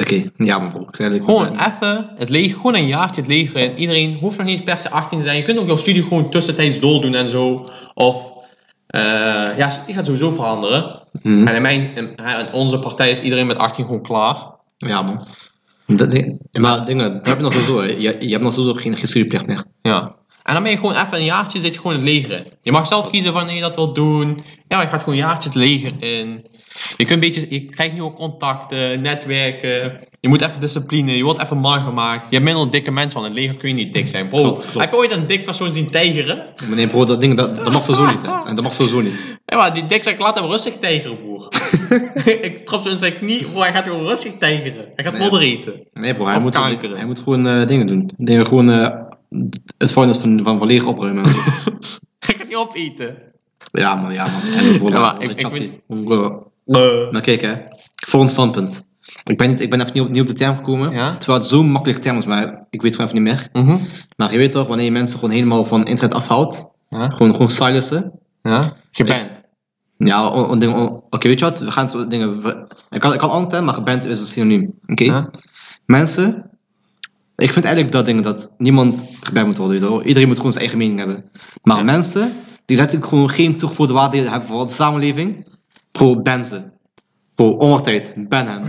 [SPEAKER 2] Oké, ja maar bro, ik zeg eerlijk.
[SPEAKER 1] Gewoon even het leger, gewoon een jaartje het leger in. Iedereen hoeft nog niet eens per se 18 te zijn. Je kunt ook jouw studie gewoon tussentijds doordoen en zo. Of, eh, ja, die gaat sowieso veranderen.
[SPEAKER 2] Mhm.
[SPEAKER 1] En in, mijn, in, in onze partij is iedereen met 18 gewoon klaar.
[SPEAKER 2] Ja, man. Dat ding, maar dingen, dat heb je nog sowieso. hè. Je, je hebt nog sowieso geen, geen studieplicht meer.
[SPEAKER 1] Ja. En dan ben je gewoon even een jaartje zit je gewoon in het leger in. Je mag zelf kiezen wanneer je dat wilt doen. Ja, maar je gaat gewoon een jaartje het leger in. Je, kunt een beetje, je krijgt nieuwe contacten, netwerken. Je moet even discipline, je wordt even man gemaakt. Je hebt minder dikke mensen, want in het leger kun je niet dik zijn. Bro,
[SPEAKER 2] Klopt, klopt.
[SPEAKER 1] heb je ooit een dik persoon zien tijgeren?
[SPEAKER 2] Maar nee, bro, dat ding, dat, dat mag sowieso niet. Hè. En dat mag sowieso niet.
[SPEAKER 1] Ja, maar die dik zei, ik laat hem rustig tijgeren, broer. ik trap zo in zijn knie, broer, hij gaat gewoon rustig tijgeren. Hij gaat
[SPEAKER 2] Ja.
[SPEAKER 1] modder eten.
[SPEAKER 2] Nee, bro, hij,
[SPEAKER 1] Of
[SPEAKER 2] moet,
[SPEAKER 1] kankeren.
[SPEAKER 2] hij moet gewoon eh, dingen doen. Dingen gewoon eh, het vuilnis van, van, van leeg opruimen. en zo.
[SPEAKER 1] Hij gaat die opeten.
[SPEAKER 2] ja, man, ja, man. En bro,
[SPEAKER 1] Ja, maar
[SPEAKER 2] bro,
[SPEAKER 1] ik- ik
[SPEAKER 2] chappie. Bro,
[SPEAKER 1] Eh.
[SPEAKER 2] Maar Nou, kijk, hè. Voor ons standpunt. Ik ben, niet, ik ben even niet op, niet op de term gekomen.
[SPEAKER 1] Ja?
[SPEAKER 2] Terwijl het zo'n makkelijke term is, maar ik weet gewoon even niet meer.
[SPEAKER 1] Mhm.
[SPEAKER 2] Maar je weet toch, wanneer je mensen gewoon helemaal van internet afhoudt.
[SPEAKER 1] Ja,
[SPEAKER 2] Gewoon, gewoon silencen.
[SPEAKER 1] ja. Geband.
[SPEAKER 2] Ja, on- on- dingen- on- oké, weet je wat? We gaan zo dingen. we- ik kan, ik kan antwoorden, maar geband is een synoniem. Oké?
[SPEAKER 1] Ja.
[SPEAKER 2] Mensen, ik vind eigenlijk dat dingen dat niemand geband moet worden. weet je wel. Iedereen moet gewoon zijn eigen mening hebben. Maar
[SPEAKER 1] Ja.
[SPEAKER 2] mensen die letterlijk gewoon geen toegevoegde waarde hebben voor de samenleving, bro, ban ze. Bro, onwaartijd, ban hem.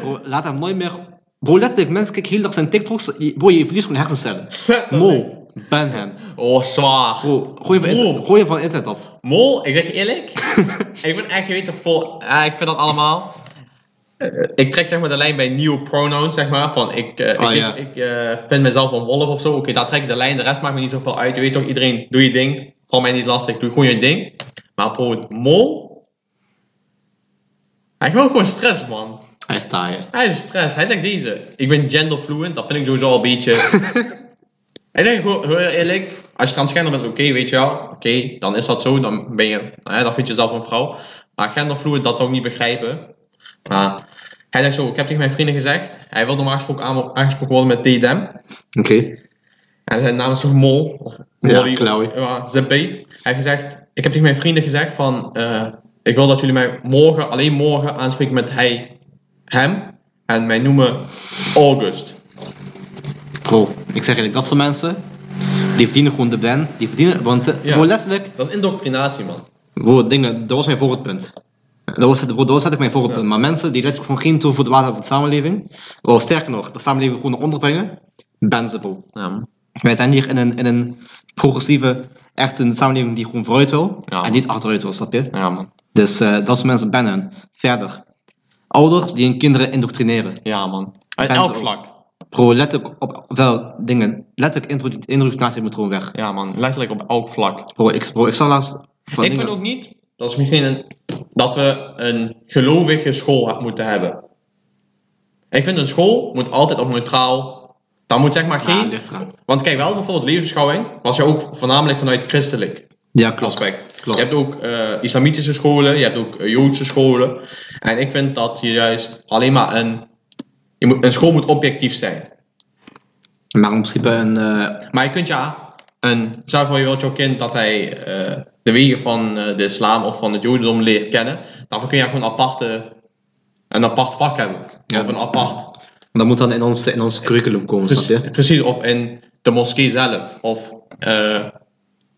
[SPEAKER 2] bro, laat hem nooit meer. Bro, letterlijk, mensen kijken heel dag zijn TikToks. je- Bro, je verliest gewoon hersencellen. Mo, ban hem.
[SPEAKER 1] Oh, zwaar.
[SPEAKER 2] Bro, gooi hem van,
[SPEAKER 1] Bro.
[SPEAKER 2] internet- gooi hem van internet af.
[SPEAKER 1] Mol, ik zeg je eerlijk, ik ben echt, je weet toch, vol, ah, ik vind dat allemaal. Ik trek zeg maar de lijn bij nieuwe pronouns, zeg maar, van ik, eh,
[SPEAKER 2] Ah,
[SPEAKER 1] ik,
[SPEAKER 2] ja.
[SPEAKER 1] ik eh, vind mezelf een wolf of zo, oké, daar trek ik de lijn, de rest maakt me niet zoveel uit, je weet toch, iedereen, doe je ding, val mij niet lastig, doe gewoon je ding. Maar bro, mol, hij wil gewoon stress, man.
[SPEAKER 2] Hij is taaien.
[SPEAKER 1] Hij is stress, hij zegt deze, ik ben genderfluent, dat vind ik sowieso al een beetje... Hij zegt gewoon heel eerlijk, als je transgender bent, oké, weet je wel, oké, dan is dat zo, dan ben je, hè, dan vind je zelf een vrouw. Maar genderfluid, dat zou ik niet begrijpen. Maar hij zegt zo, ik heb tegen mijn vrienden gezegd, hij wil normaal gesproken aan- aangesproken worden met they, them.
[SPEAKER 2] Oké.
[SPEAKER 1] En zijn naam is toch Mol? Of
[SPEAKER 2] Ja,
[SPEAKER 1] Molly, of-
[SPEAKER 2] Chloe.
[SPEAKER 1] Ja, Zippy. Hij heeft gezegd, ik heb tegen mijn vrienden gezegd van, eh, ik wil dat jullie mij morgen, alleen morgen aanspreken met hij, hem. En mij noemen August.
[SPEAKER 2] Bro, ik zeg eigenlijk, dat soort mensen, die verdienen gewoon de ban. Die verdienen, want eh,
[SPEAKER 1] Ja.
[SPEAKER 2] gewoon letterlijk,
[SPEAKER 1] Dat is indoctrinatie, man.
[SPEAKER 2] bro, dingen, dat was mijn voorbeeldpunt. Dat was, het, bro, dat was eigenlijk mijn voorbeeldpunt. Maar mensen die letterlijk gewoon geen toevoegde waarde hebben op de samenleving, of sterker nog, de samenleving gewoon onderbrengen, ban ze, bro.
[SPEAKER 1] Ja,
[SPEAKER 2] Wij zijn hier in een, in een progressieve, echt een samenleving die gewoon vooruit wil,
[SPEAKER 1] Ja.
[SPEAKER 2] en niet achteruit wil, snap je?
[SPEAKER 1] ja man.
[SPEAKER 2] Dus eh, dat soort mensen bannen. Verder, ouders die hun kinderen indoctrineren.
[SPEAKER 1] Ja, man. Uit
[SPEAKER 2] Ben ze
[SPEAKER 1] elk
[SPEAKER 2] ook.
[SPEAKER 1] vlak.
[SPEAKER 2] Bro, letterlijk op, op wel dingen, letterlijk indoctr- indoctrinatie moet gewoon weg.
[SPEAKER 1] Ja man, letterlijk op elk vlak.
[SPEAKER 2] Bro, ik, bro, ik zag laatst. van
[SPEAKER 1] ik
[SPEAKER 2] dingen-
[SPEAKER 1] vind ook niet dat, is misschien een, dat we een gelovige school ha- moeten hebben. Ik vind een school moet altijd op neutraal Dan moet zeg maar
[SPEAKER 2] Ja,
[SPEAKER 1] geen...
[SPEAKER 2] ligt eraan.
[SPEAKER 1] Want kijk, wel bijvoorbeeld levensbeschouwing was je ook voornamelijk vanuit christelijk
[SPEAKER 2] Ja, klopt.
[SPEAKER 1] aspect.
[SPEAKER 2] Klopt.
[SPEAKER 1] Je hebt ook eh, islamitische scholen, je hebt ook eh, joodse scholen. En ik vind dat je juist alleen maar een... Je moet, een school moet objectief zijn.
[SPEAKER 2] Maar in principe een... eh,
[SPEAKER 1] Maar je kunt ja... Een, stel voor je wilt jouw kind dat hij eh, de wegen van eh, de islam of van het jodendom leert kennen. Dan kun je gewoon een, aparte, een apart vak hebben.
[SPEAKER 2] Ja.
[SPEAKER 1] Of een apart...
[SPEAKER 2] dat moet dan in ons, in ons curriculum komen,
[SPEAKER 1] Precies,
[SPEAKER 2] snap je?
[SPEAKER 1] precies, of in de moskee zelf. Of eh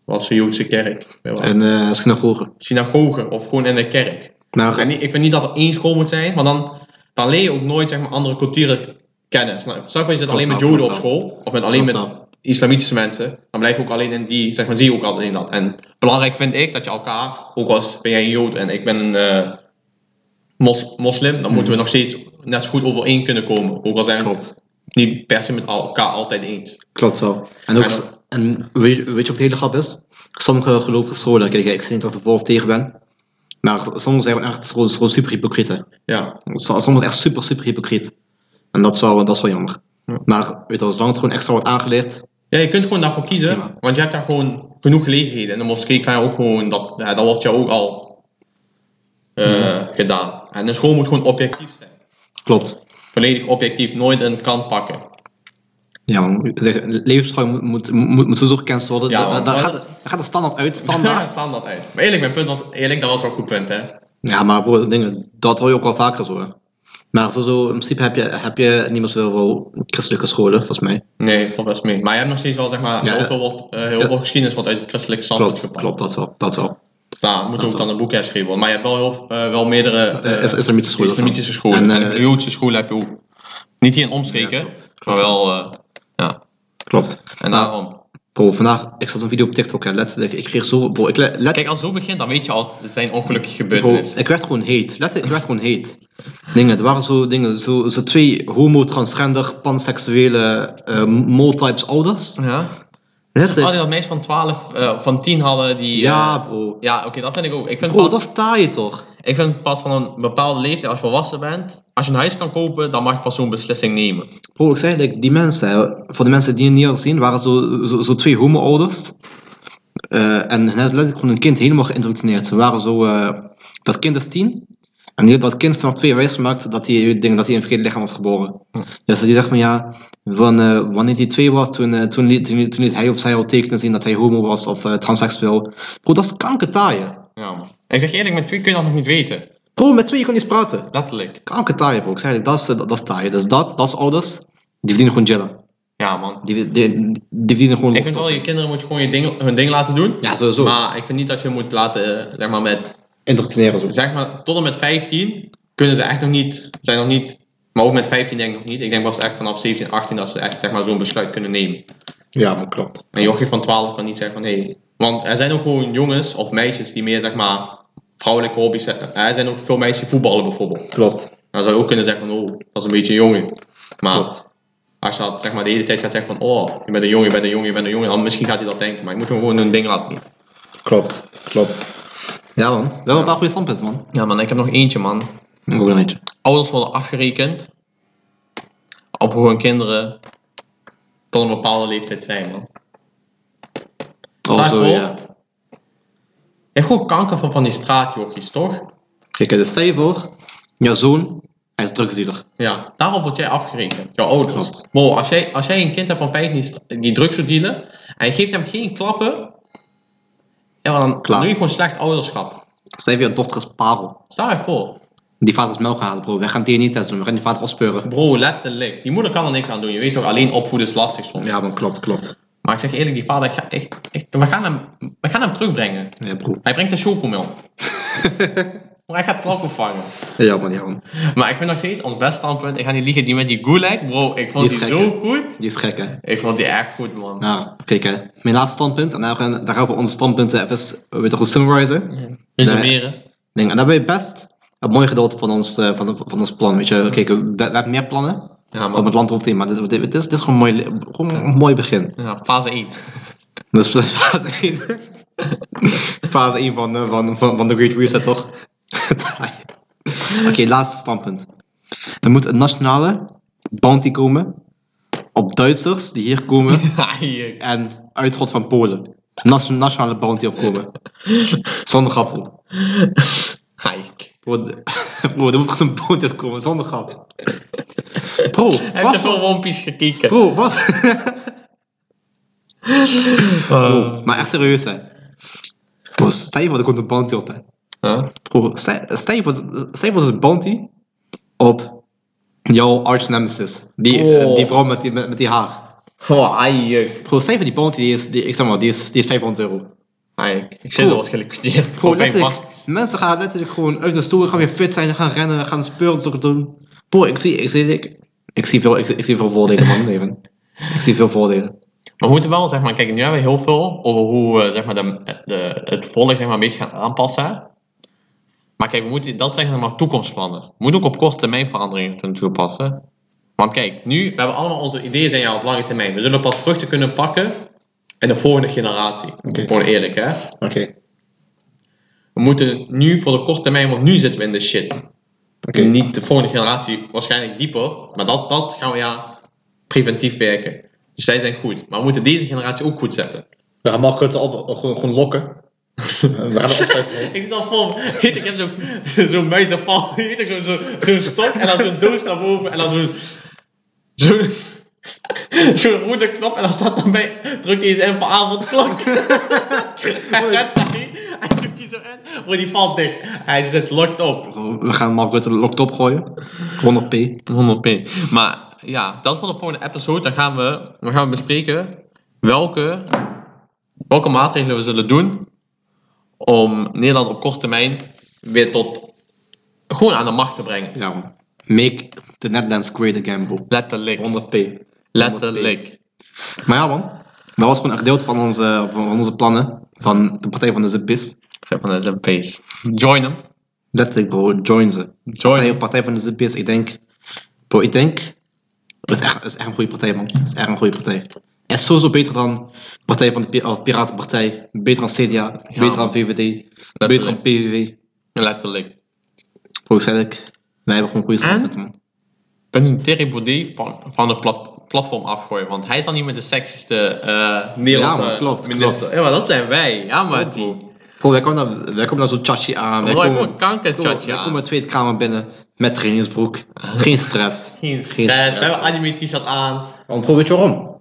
[SPEAKER 1] was de Joodse kerk. weet je wel.
[SPEAKER 2] En eh synagogen.
[SPEAKER 1] Synagoge of gewoon in de kerk.
[SPEAKER 2] Maar,
[SPEAKER 1] En niet- ik vind niet dat er één school moet zijn, want dan, dan leer je ook nooit zeg maar, andere culturen kennen. Snap snap je, je zit alleen met
[SPEAKER 2] wel,
[SPEAKER 1] Joden op
[SPEAKER 2] klopt wel.
[SPEAKER 1] school, of met alleen met
[SPEAKER 2] Klopt wel.
[SPEAKER 1] islamitische mensen. Dan blijf je ook alleen in die, zeg maar, zie je ook alleen dat. En belangrijk vind ik dat je elkaar, ook als ben jij een Jood en ik ben een eh, mos- moslim, dan moeten we nog steeds net zo goed overeen kunnen komen. Ook al zijn we
[SPEAKER 2] Mm. klopt.
[SPEAKER 1] niet per se met elkaar altijd eens.
[SPEAKER 2] Klopt wel. En, ook,
[SPEAKER 1] En-
[SPEAKER 2] en weet, je- weet je wat de hele grap is? Sommige gelovige scholen, kijk, ik zeg niet dat ik er voor of tegen ben. Maar soms zijn we echt gewoon, gewoon super hypocrieten.
[SPEAKER 1] Ja,
[SPEAKER 2] So- Soms echt super, super hypocriet. En dat is wel, dat is wel jammer.
[SPEAKER 1] Ja.
[SPEAKER 2] Maar weet je, zolang het gewoon extra wordt aangeleerd.
[SPEAKER 1] ja je kunt gewoon daarvoor kiezen,
[SPEAKER 2] Prima.
[SPEAKER 1] want je hebt daar gewoon genoeg gelegenheden. In de moskee kan je ook gewoon, dat, ja, dat wordt jou ook al eh, gedaan. En de school moet gewoon objectief zijn.
[SPEAKER 2] Klopt.
[SPEAKER 1] Volledig objectief, nooit een kant pakken.
[SPEAKER 2] Ja, man. Zeg, Levensbeschouwing moet, moet, moet, moet sowieso gekend worden.
[SPEAKER 1] Ja,
[SPEAKER 2] Ja,
[SPEAKER 1] man.
[SPEAKER 2] daar, gaat, daar gaat de standaard uit,
[SPEAKER 1] Ja,
[SPEAKER 2] standaard.
[SPEAKER 1] standaard uit. Maar eerlijk, mijn punt was, eerlijk, dat was wel een goed punt, hè.
[SPEAKER 2] ja, maar broer, dingen, dat hoor je ook wel vaker zo. hè. Maar sowieso, in principe heb je, heb je niet meer zoveel christelijke scholen, volgens mij.
[SPEAKER 1] Nee, valt best mee. Maar je hebt nog steeds wel, zeg maar,
[SPEAKER 2] Ja,
[SPEAKER 1] heel,
[SPEAKER 2] eh,
[SPEAKER 1] veel, wordt, eh, heel
[SPEAKER 2] ja.
[SPEAKER 1] veel geschiedenis wordt uit het christelijk standpunt
[SPEAKER 2] Klopt,
[SPEAKER 1] gepakt.
[SPEAKER 2] klopt, dat wel. Dat wel.
[SPEAKER 1] Daar moet
[SPEAKER 2] Dat
[SPEAKER 1] ook
[SPEAKER 2] wel.
[SPEAKER 1] dan een boek herschreven worden. Maar je hebt wel, heel, eh, wel meerdere eh,
[SPEAKER 2] Eh, is- islamitische scholen.
[SPEAKER 1] islamitische scholen. En,
[SPEAKER 2] En, eh,
[SPEAKER 1] de Joodse scholen heb je ook. Niet hier in omstreken,
[SPEAKER 2] Ja, klopt, klopt.
[SPEAKER 1] maar wel, eh, ja.
[SPEAKER 2] Klopt.
[SPEAKER 1] En
[SPEAKER 2] Nou,
[SPEAKER 1] daarom.
[SPEAKER 2] Bro, vandaag, ik zat een video op TikTok, hè, letterlijk. Ik kreeg zo, bro, ik, le- let,
[SPEAKER 1] Kijk, als het zo begint, dan weet je al, het zijn ongelukkige
[SPEAKER 2] Bro,
[SPEAKER 1] gebeurtenissen.
[SPEAKER 2] ik werd gewoon heet. Letterlijk, ik werd gewoon heet. Dingen, er waren zo dingen, zo, zo twee homo, transgender, panseksuele, eh moltypes ouders.
[SPEAKER 1] Ja? Oh,
[SPEAKER 2] Letterlijk.
[SPEAKER 1] die dat meisje van 12, eh, van 10 hadden die...
[SPEAKER 2] Ja,
[SPEAKER 1] eh,
[SPEAKER 2] bro.
[SPEAKER 1] ja, oké, dat vind ik ook. Ik vind,
[SPEAKER 2] Bro,
[SPEAKER 1] pas,
[SPEAKER 2] dat sta je toch?
[SPEAKER 1] ik vind pas van een bepaalde leeftijd, als je volwassen bent, als je een huis kan kopen, dan mag je pas zo'n beslissing nemen.
[SPEAKER 2] Bro, ik zei like, die mensen, hè, voor de mensen die het niet hadden gezien, waren zo, zo, zo twee homo-ouders. Eh, en net letterlijk gewoon een kind helemaal geïndoctrineerd. Ze waren zo, eh, dat kind is tien. En die hebben dat kind vanaf twee wijsgemaakt dat hij ik denk dat hij in een verkeerd lichaam was geboren. Dus die zegt van ja, van, eh, wanneer hij twee was, toen, eh, toen, liet, toen, liet- toen liet hij of zij al tekenen zien dat hij homo was of eh, transseksueel. Bro, dat is kankertaaien.
[SPEAKER 1] Ja, man. En ik zeg eerlijk, met twee kun je dat nog niet weten.
[SPEAKER 2] Bro, met twee je kon niet eens praten.
[SPEAKER 1] Letterlijk.
[SPEAKER 2] Kankertaaien bro, ik zei dat is, eh, dat, dat is taaien. Dus dat, dat is ouders, die verdienen gewoon jellen.
[SPEAKER 1] Ja, man.
[SPEAKER 2] Die, die, die verdienen gewoon
[SPEAKER 1] Ik vind wel, je kinderen moet je gewoon je ding, hun ding laten doen.
[SPEAKER 2] Ja, sowieso.
[SPEAKER 1] Maar ik vind niet dat je moet laten, eh, zeg maar, met,
[SPEAKER 2] Indoctrineren zo.
[SPEAKER 1] zeg maar, tot en met 15 kunnen ze echt nog niet, zijn nog niet, maar ook met 15 denk ik nog niet. Ik denk pas echt vanaf 17, 18 dat ze echt, zeg maar, zo'n besluit kunnen nemen.
[SPEAKER 2] Ja, maar klopt.
[SPEAKER 1] Een jochie van 12 kan niet zeggen van nee. Want er zijn ook gewoon jongens of meisjes die meer zeg maar vrouwelijke hobby's hebben. Eh, Er zijn ook veel meisjes die voetballen bijvoorbeeld.
[SPEAKER 2] Klopt.
[SPEAKER 1] Dan zou je ook kunnen zeggen van oh, dat is een beetje een jongen. Maar
[SPEAKER 2] Klopt.
[SPEAKER 1] als je dat zeg maar de hele tijd gaat zeggen van oh, je bent een jongen, je bent een jongen, je bent een jongen. Dan misschien gaat hij dat denken, maar je moet hem gewoon een ding laten doen.
[SPEAKER 2] Klopt. Klopt. Ja man, wel een paar goede standpunten man.
[SPEAKER 1] Ja man, ik heb nog eentje man.
[SPEAKER 2] Ook een eentje.
[SPEAKER 1] Ouders worden afgerekend op hoe hun kinderen tot een bepaalde leeftijd zijn man.
[SPEAKER 2] Oh,
[SPEAKER 1] Staat
[SPEAKER 2] zo
[SPEAKER 1] voor?
[SPEAKER 2] Oh, ja.
[SPEAKER 1] Je hebt gewoon kanker van van die straatjochies toch?
[SPEAKER 2] Kijk, dus stel je voor, jouw zoon, hij is drugsdealer.
[SPEAKER 1] Ja, daarop word jij afgerekend. Jouw ouders.
[SPEAKER 2] Klopt.
[SPEAKER 1] Bro, als jij, als jij een kind hebt van 15 die st- die drugs doet dealen en je geeft hem geen klappen, ja, dan
[SPEAKER 2] Klaar.
[SPEAKER 1] doe je gewoon slecht ouderschap.
[SPEAKER 2] Stel je voor, je dochter is parel.
[SPEAKER 1] Stel je voor.
[SPEAKER 2] Die vader is melk halen bro, wij gaan DNA-test doen, we gaan die vader opspeuren.
[SPEAKER 1] Bro, letterlijk. Die moeder kan er niks aan doen. Je weet toch, alleen opvoeden is lastig soms.
[SPEAKER 2] Ja man, klopt, klopt.
[SPEAKER 1] Maar ik zeg eerlijk, die vader, ik ga- ik, ik- we, gaan hem, we gaan hem terugbrengen.
[SPEAKER 2] Ja bro.
[SPEAKER 1] Hij brengt de chocomel. Maar hij gaat klappen vangen.
[SPEAKER 2] ja man, ja man.
[SPEAKER 1] Maar ik vind nog steeds, ons best standpunt, ik ga niet liegen, die met die gulag, bro, ik vond
[SPEAKER 2] Die
[SPEAKER 1] die,
[SPEAKER 2] is gek,
[SPEAKER 1] zo
[SPEAKER 2] hè?
[SPEAKER 1] goed.
[SPEAKER 2] Die is gek hè.
[SPEAKER 1] Ik vond die echt goed, man.
[SPEAKER 2] Nou, kijk hè. Mijn laatste standpunt, en daar gaan, we- daar gaan we onze standpunten even eh, weer terug summarizen.
[SPEAKER 1] Resumeren.
[SPEAKER 2] Ding. En daarbij best een mooi gedeelte van ons, eh, van, van ons plan. Weet je, kijk, we, we hebben meer plannen
[SPEAKER 1] Ja,
[SPEAKER 2] om
[SPEAKER 1] man.
[SPEAKER 2] het land rond te nemen, maar dit, dit, dit is, dit is gewoon, een mooi, gewoon een mooi begin.
[SPEAKER 1] Ja, fase 1.
[SPEAKER 2] Dus dat is fase 1. fase 1 van, eh, van, van, van de Great Reset, toch? Oké, laatste standpunt. Er moet een nationale bounty komen op Duitsers die hier komen
[SPEAKER 1] Ja, hier.
[SPEAKER 2] en uitgod van Polen. Nas- nationale band die opkomen. Zonder grap. hoor.
[SPEAKER 1] Haik.
[SPEAKER 2] Bro, de- bro, er moet goed een boot opkomen, zonder grap. Bro,
[SPEAKER 1] Heb je
[SPEAKER 2] wat
[SPEAKER 1] te
[SPEAKER 2] voor...
[SPEAKER 1] veel One Piece gekeken?
[SPEAKER 2] Bro, wat? Bro,
[SPEAKER 1] Huh?
[SPEAKER 2] maar echt serieus hè. Bro, stel je voor, er komt een bounty op hè. Bro, stel stel je voor, stel je voor, er is een bounty op jouw arch nemesis. Die, eh,
[SPEAKER 1] Oh.
[SPEAKER 2] die vrouw met die, met, met die haar.
[SPEAKER 1] Oh, haik.
[SPEAKER 2] Bro, stel je voor, die bounty die is, die, ik zeg maar, die is, die is 500 euro.
[SPEAKER 1] Haik. Ik zit
[SPEAKER 2] Bro.
[SPEAKER 1] al wat geliquideerd.
[SPEAKER 2] Bro,
[SPEAKER 1] Gewoon
[SPEAKER 2] letterlijk, mensen gaan letterlijk gewoon uit de stoel, gaan weer fit zijn, gaan rennen, gaan spullen doen. Bro, ik zie, ik zie, ik, ik zie, veel, ik, zie- ik zie veel voordelen man, even. Ik zie veel voordelen.
[SPEAKER 1] Maar we moeten wel, zeg maar, kijk, nu hebben we heel veel over hoe we zeg maar, de, de, het volk zeg maar, een beetje gaan aanpassen. Maar kijk, we moeten, dat zijn zeg maar toekomstplannen. We moeten ook op korte termijn veranderingen kunnen toepassen. Want kijk, nu, we hebben allemaal onze ideeën zijn ja op lange termijn. We zullen pas vruchten kunnen pakken in de volgende generatie. Gewoon eerlijk, hè.
[SPEAKER 2] Oké,
[SPEAKER 1] We moeten nu voor de korte termijn, want nu zitten we in de shit.
[SPEAKER 2] oké.
[SPEAKER 1] Niet de volgende generatie, waarschijnlijk dieper. Maar dat, dat gaan we ja preventief werken. Dus zij zijn goed. Maar we moeten deze generatie ook goed zetten.
[SPEAKER 2] We gaan Marco op, gewoon, gewoon lokken. We gaan
[SPEAKER 1] Ik zit al vol. Weet ik heb zo'n zo zo'n muizenval. Weet ik, zo'n zo, zo'n stok en dan zo'n doos naar boven. En dan zo'n. Zo'n. Zo'n rode knop en dan staat dan bij. Druk deze in voor avondklok. Hij rent daarheen. Hij drukt die zo in. Bro, die valt dicht. Hij zit locked op.
[SPEAKER 2] Oh, We gaan Marco de lokt opgooien. 100p.
[SPEAKER 1] 100p. Maar ja, dat voor de volgende episode. Dan gaan we, dan gaan we bespreken welke, welke maatregelen we zullen doen om Nederland op korte termijn weer tot gewoon aan de macht te brengen.
[SPEAKER 2] Ja man. Make the Netherlands great again bro.
[SPEAKER 1] Letterlijk.
[SPEAKER 2] 100p.
[SPEAKER 1] Letterlijk.
[SPEAKER 2] Maar ja man. Dat was gewoon een gedeelte van onze, van onze plannen. Van de partij van de ZPIS.
[SPEAKER 1] Zeg maar, dat is een pace. Join hem.
[SPEAKER 2] Letterlijk bro, join ze.
[SPEAKER 1] Join
[SPEAKER 2] partij,
[SPEAKER 1] hem.
[SPEAKER 2] partij van de ZPS, ik denk. Bro, ik denk. Het is echt, het is echt een goede partij, man. Het is echt een goede partij. Het is sowieso beter dan Partij van de Pi- of Piratenpartij. Beter dan CDA. beter dan VVD. Beter dan PVV.
[SPEAKER 1] Letterlijk.
[SPEAKER 2] Bro, ik zei het. Wij hebben gewoon goede
[SPEAKER 1] En?
[SPEAKER 2] standpunten, man.
[SPEAKER 1] Ik ben nu Terry Baudet van, van het plat- platform afgooien, want hij is dan niet meer de sexiste eh Nederlandse
[SPEAKER 2] Ja, maar klopt,
[SPEAKER 1] minister.
[SPEAKER 2] klopt.
[SPEAKER 1] Ja, maar dat zijn wij. Ja, maar die.
[SPEAKER 2] Bro, wij komen daar, wij komen daar zo'n tjatje aan. Wij
[SPEAKER 1] Bro, ik
[SPEAKER 2] komen,
[SPEAKER 1] word kanker,
[SPEAKER 2] bro,
[SPEAKER 1] tjatje
[SPEAKER 2] wij
[SPEAKER 1] aan.
[SPEAKER 2] komen de Tweede Kamer binnen met trainingsbroek. Geen stress.
[SPEAKER 1] Geen
[SPEAKER 2] Geen
[SPEAKER 1] stress. We
[SPEAKER 2] stress.
[SPEAKER 1] hebben anime t-shirt aan.
[SPEAKER 2] Want bro, weet je waarom?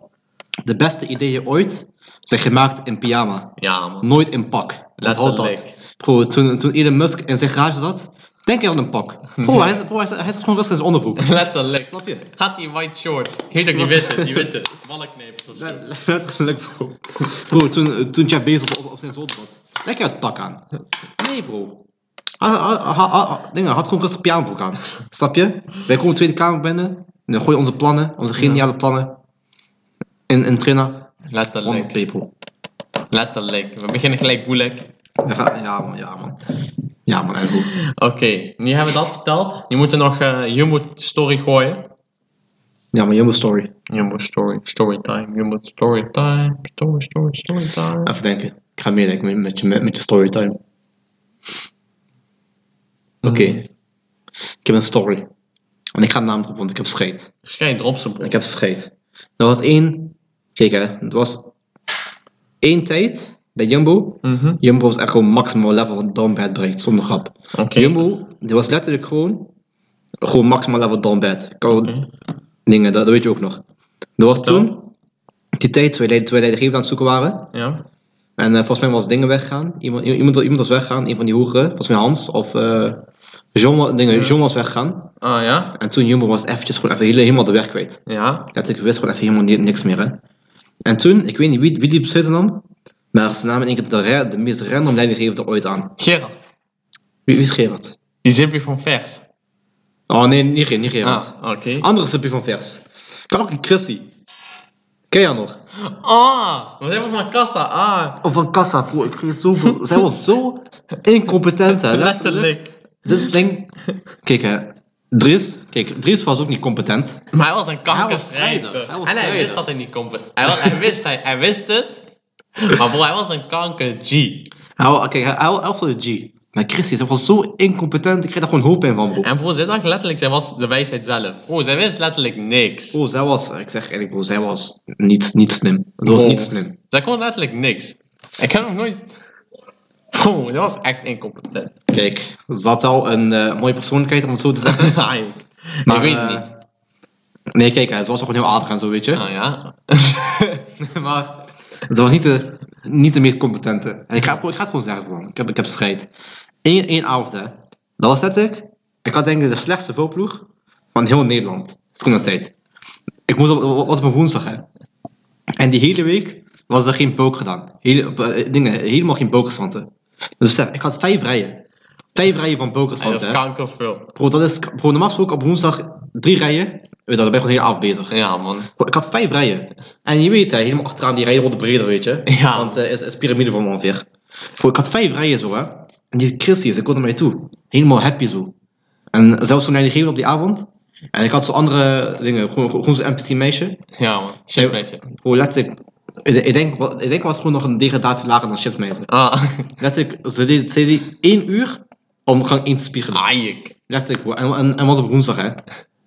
[SPEAKER 2] De beste ideeën ooit zijn gemaakt in pyjama.
[SPEAKER 1] Ja, man.
[SPEAKER 2] Nooit in pak. Onthoud dat.
[SPEAKER 1] Letterlijk.
[SPEAKER 2] Bro, toen, toen Elon Musk in zijn garage zat, denk je aan een pak. Bro, hij, is- bro, hij, is- hij is gewoon rustig in zijn onderbroek.
[SPEAKER 1] Letterlijk.
[SPEAKER 2] Snap je?
[SPEAKER 1] Had die white short. Heet ook die witte, die witte. Ballenknepers of zo.
[SPEAKER 2] Letterlijk, bro. Bro, toen, toen Jeff Bezos op, op zijn zolder zat, denk je aan het pak aan. Nee, bro. Hij hij- hij- hij- hij had gewoon rustig pyjamabroek aan. Snap je? Wij komen de Tweede Kamer binnen, en dan gooien onze plannen, onze geniale plannen, in, in trainer.
[SPEAKER 1] Letterlijk.
[SPEAKER 2] 100 people.
[SPEAKER 1] Letterlijk. We beginnen gelijk moeilijk.
[SPEAKER 2] Ja, ga- ja, man, ja, man. Ja, man, en hoe?
[SPEAKER 1] Oké, nu hebben we dat verteld. Nu moeten we nog eh Jumbo Story gooien.
[SPEAKER 2] Ja, man, jonge story.
[SPEAKER 1] Jumbo Story, Storytime, Jumbo Storytime, Story, Story, Storytime.
[SPEAKER 2] Even denken. Ik ga meedenken met, met, je, met, met je storytime. Oké.
[SPEAKER 1] Mm.
[SPEAKER 2] Ik heb een story. En ik ga een naam erop, want ik heb scheet.
[SPEAKER 1] Schijn erop ze broer.
[SPEAKER 2] Ik heb scheet. Er was één... Kijk hè, er was één tijd bij Jumbo.
[SPEAKER 1] Mhm.
[SPEAKER 2] Jumbo was echt gewoon maximaal level van downbad bereikt, zonder grap.
[SPEAKER 1] Oké.
[SPEAKER 2] Jumbo, die was letterlijk gewoon... Gewoon maximaal level downbad. Ik kan
[SPEAKER 1] Oké.
[SPEAKER 2] dingen, dat, dat weet je ook nog. Er was
[SPEAKER 1] Vertel.
[SPEAKER 2] toen... Die tijd, twee leidinggevenden aan het zoeken waren.
[SPEAKER 1] Ja.
[SPEAKER 2] En eh, volgens mij was dingen weggaan. Iemand, iemand, iemand was weggaan, een van die hoeren. Volgens mij Hans of eh John, wa- dingen,
[SPEAKER 1] Ja.
[SPEAKER 2] John was weggaan.
[SPEAKER 1] Ah ja?
[SPEAKER 2] En toen Jumbo was eventjes gewoon even hele- helemaal de weg kwijt.
[SPEAKER 1] Ja.
[SPEAKER 2] Dat ik wist gewoon even helemaal ni- niks meer. Hè. En toen, ik weet niet wie, wie die besluiten nam. Maar ze namen in één keer de, ra- de meest random leidinggevende ooit aan.
[SPEAKER 1] Gerard.
[SPEAKER 2] Wie, wie is Gerard?
[SPEAKER 1] Die zippie van vers.
[SPEAKER 2] Oh nee, niet, Ge- niet Gerard.
[SPEAKER 1] Ah, oké.
[SPEAKER 2] Andere subje van vers. Kalkie Chrissy. Ken jij haar nog?
[SPEAKER 1] Ah, we zijn van kassa. Ah,
[SPEAKER 2] Of Oh, van Kassa, bro. Ik kreeg zoveel... Zij was zo incompetent, hè.
[SPEAKER 1] letterlijk.
[SPEAKER 2] Dit is denk... Kijk hè, Dries, kijk, Dries was ook niet competent.
[SPEAKER 1] Maar hij was een
[SPEAKER 2] Hij was strijder,
[SPEAKER 1] kankerstrijder.
[SPEAKER 2] hij was
[SPEAKER 1] En hij
[SPEAKER 2] strijder.
[SPEAKER 1] wist dat hij niet kon. be- Hij, was, hij, wist, hij, hij wist het. Maar bro, hij was een kanker G.
[SPEAKER 2] Hij, wa- kijk, hij, hij was de G. Maar Christy is ook wel zo incompetent, ik krijg daar gewoon hoofdpijn van, bro.
[SPEAKER 1] En voor zij dacht letterlijk, zij was de wijsheid zelf. Oh, zij wist letterlijk niks.
[SPEAKER 2] Bro, zij was, ik zeg eerlijk, bro, zij was niet, niet slim. Het was
[SPEAKER 1] Bro.
[SPEAKER 2] niet slim.
[SPEAKER 1] Zij kon letterlijk niks. Ik heb nog nooit... Oh, dat was echt incompetent.
[SPEAKER 2] Kijk, ze had al een eh, mooie persoonlijkheid, om het zo te zeggen.
[SPEAKER 1] Ah, ik-
[SPEAKER 2] Maar,
[SPEAKER 1] ik weet het
[SPEAKER 2] eh,
[SPEAKER 1] niet.
[SPEAKER 2] Nee, kijk, hè, ze was ook gewoon heel aardig en zo, weet je.
[SPEAKER 1] Ah ja.
[SPEAKER 2] maar ze was niet de, niet de meest competente. En ik ga, ik ga het gewoon zeggen, man. Ik heb, ik heb strijd. Eén, één avond, hè. Dat was dat ik. Ik had denk ik de slechtste voorploeg van heel Nederland. Toen dat tijd. Ik moest op, op- was op een woensdag, hè. En die hele week was er geen poker gedaan. Hele, op, eh, dingen, helemaal geen pokerstanden. Dus zeg, ik had vijf rijen. Vijf rijen van
[SPEAKER 1] En dat
[SPEAKER 2] pokerstanden,
[SPEAKER 1] is
[SPEAKER 2] hè.
[SPEAKER 1] kankerveel.
[SPEAKER 2] Bro, dat is, bro, normaal gesproken op woensdag drie rijen. Weet je, dat ben ik gewoon de hele avond bezig.
[SPEAKER 1] Ja, man.
[SPEAKER 2] Bro, Ik had vijf rijen. En je weet, hè, helemaal achteraan die rijen worden breder, weet je.
[SPEAKER 1] Ja.
[SPEAKER 2] Want eh, het is, is piramide van ongeveer. Bro, ik had vijf rijen zo, hè. En die Christie, ze kon naar mij toe. Helemaal happy zo. En zelfs toen hij die gegeven op die avond. En ik had zo'n andere dingen, gewoon, gewoon zo'n empty meisje.
[SPEAKER 1] Ja, man. Shitmeisje.
[SPEAKER 2] Bro, letterlijk. Ik, ik denk, wa- ik denk was gewoon nog een degradatie lager dan shitmeisje.
[SPEAKER 1] Ah.
[SPEAKER 2] Letterlijk, ze deed, ze deed één uur om gang één te spiegelen.
[SPEAKER 1] ah, Ajik.
[SPEAKER 2] Letterlijk, bro. En, en, en was op woensdag, hè.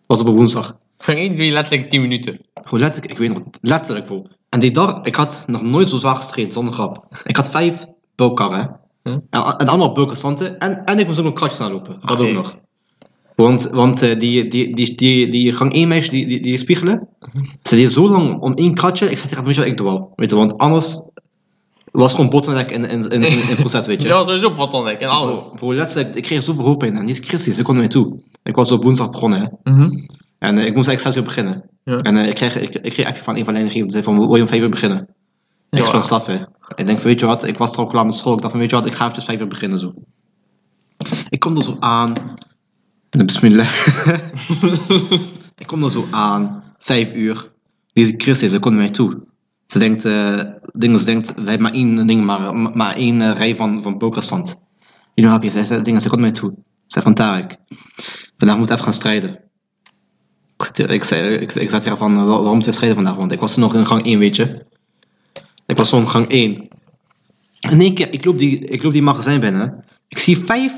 [SPEAKER 2] Was op woensdag.
[SPEAKER 1] Geen één doe je letterlijk 10 minuten.
[SPEAKER 2] Bro, letterlijk, ik weet nog, letterlijk bro. En die dag, ik had nog nooit zo zwaar gestreden, zonder grap. Ik had vijf bulkarren.
[SPEAKER 1] Hm?
[SPEAKER 2] En, en allemaal bulkerstanten. En, en ik moest ook nog kratjes aanlopen. Dat
[SPEAKER 1] Ah,
[SPEAKER 2] ook
[SPEAKER 1] jee.
[SPEAKER 2] nog. Want, want eh, die, die, die, die, die gang één meisje, die, die, die spiegelen.
[SPEAKER 1] Mhm.
[SPEAKER 2] Ze deed zo lang om één kratje. Ik zei tegen haar, weet je wat, ik dwaal. Weet je, want anders was gewoon bottleneck in, in, in, in, in het proces, weet je.
[SPEAKER 1] Dat was sowieso bottleneck en alles.
[SPEAKER 2] Bro, bro, letterlijk, ik kreeg zoveel hoofdpijn. En die is Christie, ze kon naar mij toe. Ik was op woensdag begonnen, hè.
[SPEAKER 1] Mhm.
[SPEAKER 2] En eh, ik moest extra zo beginnen.
[SPEAKER 1] Ja.
[SPEAKER 2] En eh, ik kreeg ik, ik kreeg een appje van een van de enige die zei van wil je om vijf uur beginnen? Ik
[SPEAKER 1] Ja.
[SPEAKER 2] was van staf hè. Ik denk van weet je wat, ik was er al klaar met school. Ik dacht van weet je wat, ik ga eventjes vijf uur beginnen zo. Ik kom er zo aan. En dan bismillah. ik kom er zo aan. Vijf uur. Deze Christus, ze komt naar mij toe. Ze denkt, eh dingen, ze denkt, wij hebben maar één ding, maar, maar één eh, rij van, van pokerstand. Jullie hapje, ze, ze, dingen, ze komt naar mij toe. Ze zei van Tarek, vandaag moet even gaan strijden. Ik, ik, zei, ik, ik zat hier van, eh, wa- waarom moeten we strijden vandaag? Want ik was nog in gang 1, weet je. Ik was nog in gang 1. In één keer, ik loop die, ik loop die magazijn binnen. Ik zie vijf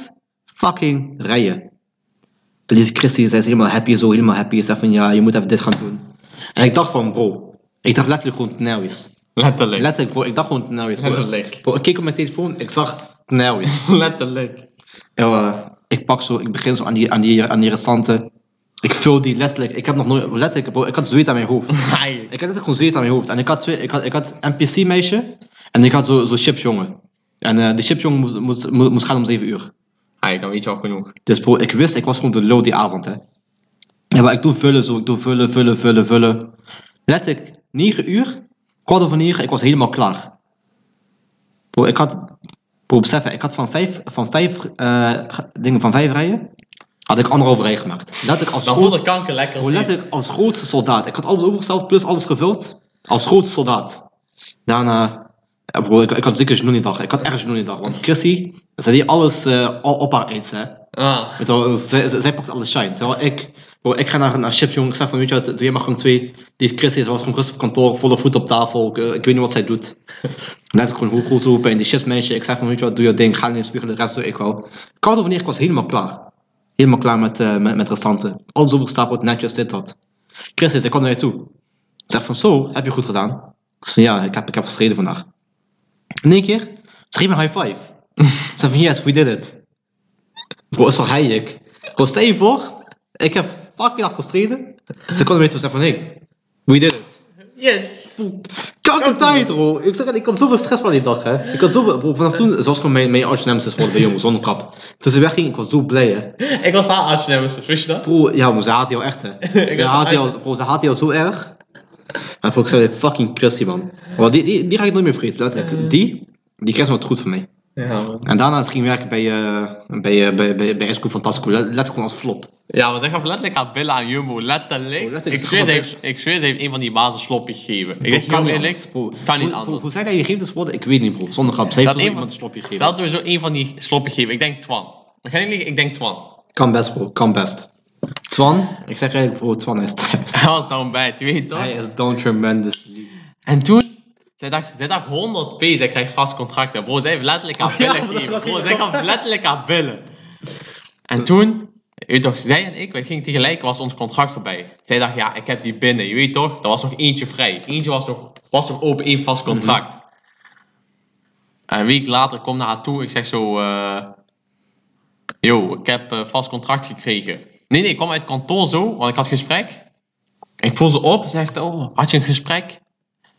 [SPEAKER 2] fucking rijen. En deze Christie, zij is helemaal happy, zo helemaal happy. Ze zegt van, ja, je moet even dit gaan doen. En ik dacht van, bro. Ik dacht letterlijk gewoon Tnelwis.
[SPEAKER 1] Letterlijk.
[SPEAKER 2] Letterlijk, bro. Ik dacht gewoon Tnelwis.
[SPEAKER 1] Letterlijk.
[SPEAKER 2] Bro, ik keek op mijn telefoon, ik zag Tnelwis.
[SPEAKER 1] Letterlijk.
[SPEAKER 2] Ja, eh, ik pak zo, ik begin zo aan die, aan die, aan die restanten. Ik vul die letterlijk, ik heb nog nooit, letterlijk, bro, ik had zweet aan mijn hoofd.
[SPEAKER 1] Ajik.
[SPEAKER 2] Ik had net gewoon zweet aan mijn hoofd. En ik had, twee, ik had, ik had NPC-meisje en ik had zo- zo'n chipsjongen. En eh die chipsjongen moest, moest, moest, moest gaan om 7 uur.
[SPEAKER 1] Ajik, dan weet je al genoeg.
[SPEAKER 2] Dus bro, ik wist, ik was gewoon de low die avond, hè. En wat ik doe vullen zo, ik doe vullen, vullen, vullen, vullen. Letterlijk, 9 uur, kwart over 9, ik was helemaal klaar. Bro, ik had, bro, besef, hè, ik had van vijf, van vijf eh, ge- dingen, van vijf rijen, had ik anderhalve rij gemaakt. Letterlijk als,
[SPEAKER 1] Dan
[SPEAKER 2] groot-
[SPEAKER 1] voelde kanker lekker.
[SPEAKER 2] bro, letterlijk als grootste soldaat. Ik had alles overgesteld, plus alles gevuld, als grootste soldaat. Daarna, ja, bro, ik, ik had zeker genoeg die dag, ik had erg genoeg die dag, want Chrissy, ze deed alles eh, al op haar eens, hè.
[SPEAKER 1] Ah.
[SPEAKER 2] Weet je wel, zij, zij- zij pakt alle shine. Terwijl ik, bro, ik ga naar, naar Chips, jongen. Ik zeg van, weet je wat, doe jij maar gewoon twee. Die Chris is was gewoon rustig op kantoor, volle voet op tafel. Ik, eh, ik weet niet wat zij doet. Dan heb ik gewoon hoe goed zo bij die Chips meisje. Ik zeg van, weet je wat, doe je ding. Ga in de spiegel, de rest doe ik wel. Koud over neer, ik was helemaal klaar. Helemaal klaar met, eh met, met restanten. Alles overgestapeld, netjes, dit, dat. Chris is, ik kwam naar je toe. Ik zeg van, zo, heb je goed gedaan? Ik zeg van, ja, ik heb, ik heb gestreden vandaag. In één keer, ze geeft me een high five. Ze zei van, yes, we did it. Bro, is al heijek. Bro, stel je voor, ik heb fucking hard gestreden. Ze konden weten, ze van, hey, we did it.
[SPEAKER 1] Yes.
[SPEAKER 2] Kakke tijd, bro. Ik, zeg, ik had zoveel stress van die dag, hè. Ik had zoveel, bro, vanaf toen, zoals gewoon mijn, mijn arch nemesis geworden bij jongens, zonder kap. Toen ze wegging, ik was zo blij, hè.
[SPEAKER 1] Ik was haar arts nemesis, wist je dat?
[SPEAKER 2] Bro, ja, maar ze haat jou echt, hè.
[SPEAKER 1] Ik
[SPEAKER 2] Ze
[SPEAKER 1] had
[SPEAKER 2] haat jou,
[SPEAKER 1] eigenlijk-
[SPEAKER 2] bro, ze haat jou zo erg. En bro, ik zei, fucking Christy, man. Want die, die, die ga ik nooit meer vergeten, letterlijk. Die, die kreeg wat goed van mij.
[SPEAKER 1] Ja, man.
[SPEAKER 2] En daarna ze ging werken bij, eh bij, eh, bij, bij, bij SQ Fantastico, let- letterlijk gewoon als flop.
[SPEAKER 1] Ja, maar zeg gaf letterlijk haar billen aan Jumbo. Letterlijk.
[SPEAKER 2] Oh, letterlijk,
[SPEAKER 1] ik,
[SPEAKER 2] ze
[SPEAKER 1] zweer,
[SPEAKER 2] gaf
[SPEAKER 1] ze
[SPEAKER 2] haar
[SPEAKER 1] heeft, ik zweer, ze heeft een van die bazen sloppie gegeven. Ik
[SPEAKER 2] Bro,
[SPEAKER 1] zeg je heel eerlijk,
[SPEAKER 2] anders, bro.
[SPEAKER 1] kan niet
[SPEAKER 2] Hoe- Hoe,
[SPEAKER 1] anders.
[SPEAKER 2] hoe zij dat gegeven is worden, ik weet niet bro. Zonder grap. Zij heeft
[SPEAKER 1] Dat
[SPEAKER 2] wel
[SPEAKER 1] een
[SPEAKER 2] iemand een
[SPEAKER 1] van-
[SPEAKER 2] slopje
[SPEAKER 1] Ze
[SPEAKER 2] gegeven.
[SPEAKER 1] had sowieso een van die sloppie gegeven. Ik denk Twan. Ik ga niet liegen, ik denk Twan.
[SPEAKER 2] Kan best bro, kan best. Twan, ik zeg eigenlijk bro, Twan is trash.
[SPEAKER 1] Hij was down bad, je weet toch?
[SPEAKER 2] Hij is down tremendously.
[SPEAKER 1] En toen, Zij dacht, zij dacht 100p, zij krijgt vast contract. hè, Bro, zij heeft letterlijk haar
[SPEAKER 2] Ja,
[SPEAKER 1] billen
[SPEAKER 2] maar dat
[SPEAKER 1] gegeven.
[SPEAKER 2] was
[SPEAKER 1] Bro,
[SPEAKER 2] niet
[SPEAKER 1] zij
[SPEAKER 2] normaal.
[SPEAKER 1] gaf letterlijk haar billen. En toen, je weet toch, zij en ik, wij gingen tegelijk, was ons contract voorbij. Zij dacht, ja, ik heb die binnen, je weet toch, er was nog eentje vrij. Eentje was nog, was nog open, één
[SPEAKER 2] Mhm.
[SPEAKER 1] vast contract. En een week later kom naar haar toe, ik zeg zo, eh, yo, ik heb eh, vast contract gekregen. Nee, nee, ik kwam uit het kantoor zo, want ik had gesprek. Ik voel ze op, zegt, oh, had je een gesprek?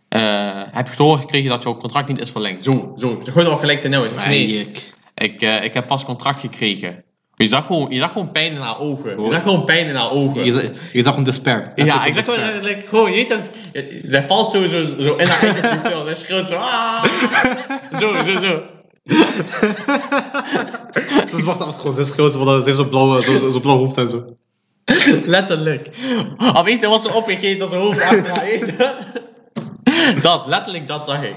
[SPEAKER 1] Eh, heb je te horen gekregen dat jouw contract niet is verlengd? Zo, zo. Ze gooiden al gelijk de nieuws. Nee,
[SPEAKER 2] Eik.
[SPEAKER 1] ik, eh, ik heb vast contract gekregen. Je zag gewoon, je zag gewoon pijn in haar ogen. Je
[SPEAKER 2] Oh.
[SPEAKER 1] zag gewoon pijn in haar ogen.
[SPEAKER 2] Je, zag- je zag hem despair.
[SPEAKER 1] ja, ik zeg eh, gewoon, like, gewoon, je weet toch, zij valt zo, zo, zo in haar eigen cocktail. Zij schreeuwt zo, ah. zo, zo, zo.
[SPEAKER 2] Dat wordt altijd gewoon zes groot, want ze heeft zo'n blauwe- zo- zo- zo'n blauw hoofd en zo.
[SPEAKER 1] Letterlijk. Al weet je wat ze opgegeven dat ze hoofd achter haar eten. Dat, letterlijk, dat zag ik.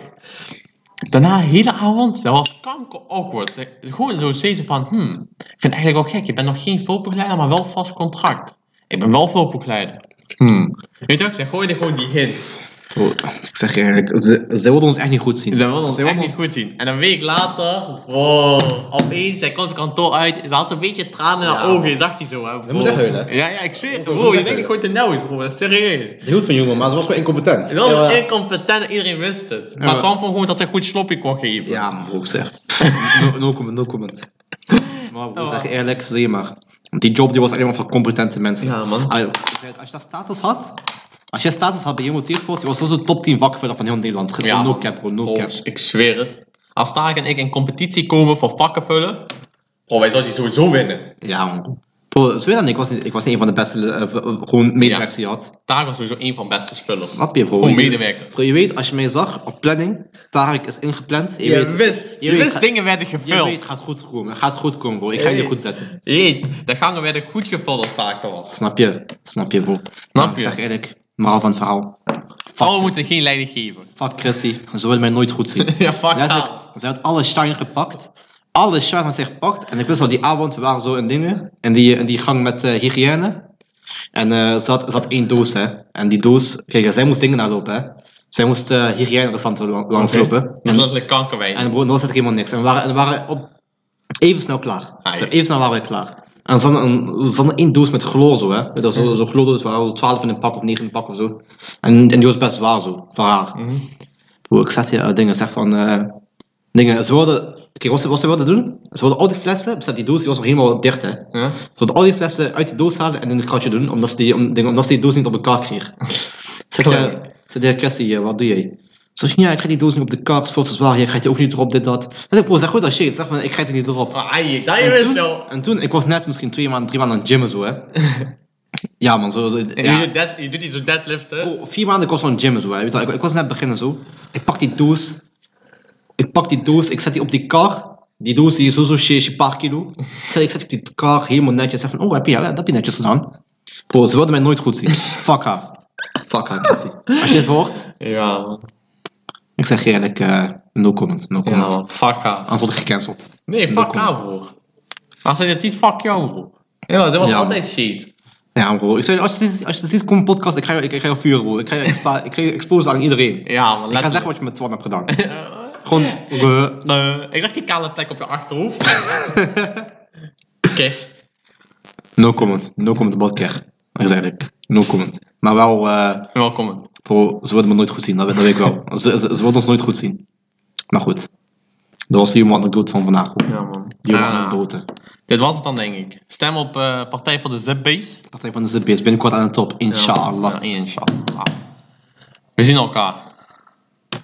[SPEAKER 1] Daarna, hele avond, dat was kanker awkward. Ze- Gewoon zo steeds van, hmm, ik vind het eigenlijk wel gek. Je bent nog geen voorbegeleider, maar wel vast contract. Ik ben wel voorbegeleider. Hmm. Weet je wat, ze gooiden gewoon die hints.
[SPEAKER 2] ik zeg je eerlijk, ze, ze wilden ons echt niet goed zien.
[SPEAKER 1] Ze wilden ons
[SPEAKER 2] Ze
[SPEAKER 1] echt
[SPEAKER 2] wilden
[SPEAKER 1] niet goed zien. En een week later, wow, opeens, zij komt het kantoor uit. Ze had zo'n beetje tranen in haar
[SPEAKER 2] Ja.
[SPEAKER 1] ogen, je zag die zo. Hè, bro.
[SPEAKER 2] moet echt huilen, hè?
[SPEAKER 1] Ja, ja, ik zie het.
[SPEAKER 2] Ze moet
[SPEAKER 1] Bro,
[SPEAKER 2] echt
[SPEAKER 1] je denkt, ik gooi de nauw, bro, dat is serieus.
[SPEAKER 2] Ze hield van jongen, maar ze was gewoon incompetent.
[SPEAKER 1] Het was
[SPEAKER 2] Ja,
[SPEAKER 1] ja.
[SPEAKER 2] maar-
[SPEAKER 1] incompetent, iedereen wist het. Maar
[SPEAKER 2] maar-
[SPEAKER 1] het kwam van gewoon dat hij goed sloppy kon geven.
[SPEAKER 2] Ja, maar broek zeg. No, no comment, no comment. Maar broek,
[SPEAKER 1] Oh.
[SPEAKER 2] zeg je eerlijk, zie je maar. Die job die was alleen maar voor competente mensen.
[SPEAKER 1] Ja, man.
[SPEAKER 2] Ah, joh. Ik zei het, Als je dat status had, als je status had bij Jumbo Teerport, je was sowieso top 10 vakverder van heel Nederland. Ge-
[SPEAKER 1] Ja,
[SPEAKER 2] no
[SPEAKER 1] man.
[SPEAKER 2] cap, bro, no
[SPEAKER 1] Bro,
[SPEAKER 2] cap.
[SPEAKER 1] Ik zweer het. Als Taak en ik in competitie komen voor vakken vullen, bro, wij zouden die sowieso winnen.
[SPEAKER 2] Ja, man. Bro, zweer dan, ik was niet, ik was niet een van de beste, eh, v- eh, gewoon medewerkers die je had.
[SPEAKER 1] Taak was sowieso één van de beste vullers.
[SPEAKER 2] Snap je, bro?
[SPEAKER 1] Gewoon
[SPEAKER 2] Je-
[SPEAKER 1] medewerkers.
[SPEAKER 2] Zo, je weet, als je mij zag op planning, Tarek is ingepland. Je, weet,
[SPEAKER 1] wist, je
[SPEAKER 2] je
[SPEAKER 1] wist
[SPEAKER 2] weet-
[SPEAKER 1] dingen werden
[SPEAKER 2] je
[SPEAKER 1] gevuld.
[SPEAKER 2] weet, gaat goed komen. Gaat goed komen, bro. Ik ga
[SPEAKER 1] Je
[SPEAKER 2] je
[SPEAKER 1] weet.
[SPEAKER 2] goed zetten.
[SPEAKER 1] Je weet, de gangen werden goed gevuld als Taak er was.
[SPEAKER 2] Snap je? Snap je, bro?
[SPEAKER 1] Snap
[SPEAKER 2] Ja,
[SPEAKER 1] je?
[SPEAKER 2] Ik zeg eerlijk, maar van het verhaal.
[SPEAKER 1] Vrouwen Oh, moeten geen leiding geven.
[SPEAKER 2] Fuck Chrissy, ze willen mij nooit goed zien.
[SPEAKER 1] Ja, fuck
[SPEAKER 2] Letterlijk,
[SPEAKER 1] haar.
[SPEAKER 2] ze had alle shine gepakt. Alle shine had ze gepakt. En ik wist wel, die avond, we waren zo in dingen. In die, in die gang met eh, hygiëne. En eh, ze, had, ze had één doos, hè. En die doos... Kijk, zij moest dingen naar lopen, hè. Zij moest eh hygiënerestaurant lang- langs lopen.
[SPEAKER 1] Dus Dat is
[SPEAKER 2] En,
[SPEAKER 1] letterlijk kankerwijn.
[SPEAKER 2] en bro, nooit had ik helemaal niks. En we waren, en we waren op, even snel klaar.
[SPEAKER 1] Ah, ja.
[SPEAKER 2] Even snel waren we klaar. En ze hadden, een, ze hadden één doos met chloor zo, hè. Weet je, zo- Zo'n chloordoos waar zo 12 in een pak of 9 in een pak of zo. En, en die was best zwaar zo, voor haar.
[SPEAKER 1] Mhm.
[SPEAKER 2] Bro, ik zat hier eh, dingen, zeg van. eh, dingen, ze wilden. Kijk, wat ze, wat ze wilden doen. Ze wilden al die flessen. Besef, die doos die was nog helemaal dicht, hè. Ze
[SPEAKER 1] Ja?
[SPEAKER 2] wilden al die flessen uit die doos halen en in een kratje doen, omdat ze die, om, dingen, omdat ze die doos niet op elkaar kreeg. Zeg je,
[SPEAKER 1] Clever.
[SPEAKER 2] zeg je, Cassie, eh, wat doe jij? Ze zegt, ja, ik ga die doos niet op de kaart, het is veel te zwaar, je gaat die ook niet erop, dit, dat. En ik bro, zeg goed dat shit, zeg van, ik ga die niet erop.
[SPEAKER 1] Ah, ai, dat je
[SPEAKER 2] En
[SPEAKER 1] wist
[SPEAKER 2] toen,
[SPEAKER 1] wel.
[SPEAKER 2] en toen, ik was net misschien twee maanden, drie maanden aan het gymmen, zo, hè. ja, man, zo, zo ja.
[SPEAKER 1] Je, doet dead- je doet iets zo deadliften.
[SPEAKER 2] Bro, Oh, vier maanden ik was zo'n gym en zo. Hè. Weet je wel, Ik, ik was net beginnen zo. Ik pak die doos. Ik pak die doos. Ik zet die op die kar. Die doos die is sowieso shit, een paar kilo. Ik zet, ik zet die op die kar helemaal netjes. Zeg van, oh, heb je, ja, dat heb je netjes gedaan. Bro, ze wilden mij nooit goed zien. Fuck haar. Fuck haar, Cassie. Als je dit hoort,
[SPEAKER 1] Ja, man.
[SPEAKER 2] ik zeg je eerlijk, eh, no comment, no
[SPEAKER 1] Ja,
[SPEAKER 2] comment.
[SPEAKER 1] man. Fuck haar.
[SPEAKER 2] Anders word ik gecanceld.
[SPEAKER 1] Nee,
[SPEAKER 2] Dat
[SPEAKER 1] fuck
[SPEAKER 2] komt.
[SPEAKER 1] haar, broer. Als hij dit ziet, fuck jou, broer. Ja, dat was
[SPEAKER 2] Ja.
[SPEAKER 1] altijd shit.
[SPEAKER 2] Ja, bro. Ik zeg, als je dit, als je dit ziet, kom op podcast. Ik ga je, ik, ik ga je vuren, bro. Ik ga je, expo- ik ga je exposen aan iedereen.
[SPEAKER 1] Ja, man,
[SPEAKER 2] Ik ga zeggen
[SPEAKER 1] letterlijk.
[SPEAKER 2] wat je met Twan hebt gedaan. Gewoon, eh,
[SPEAKER 1] Eh, ik zag die kale plek op je achterhoofd. Oké.
[SPEAKER 2] No comment. No comment about care. Dat is eigenlijk. No comment. Maar wel, eh,
[SPEAKER 1] Welkom.
[SPEAKER 2] bro, ze wilden me nooit goed zien. Dat weet, dat weet ik wel. Ze, ze, ze wilden ons nooit goed zien. Maar goed. Dat was die anekdote van vandaag. hoor.
[SPEAKER 1] Ja, man.
[SPEAKER 2] Die
[SPEAKER 1] Ah,
[SPEAKER 2] anekdote.
[SPEAKER 1] dit was het dan, denk ik. Stem op eh, Partij voor de Zipbase.
[SPEAKER 2] Partij van de ZB's binnenkort aan de top. Inshallah.
[SPEAKER 1] Ja, inshallah. We zien elkaar.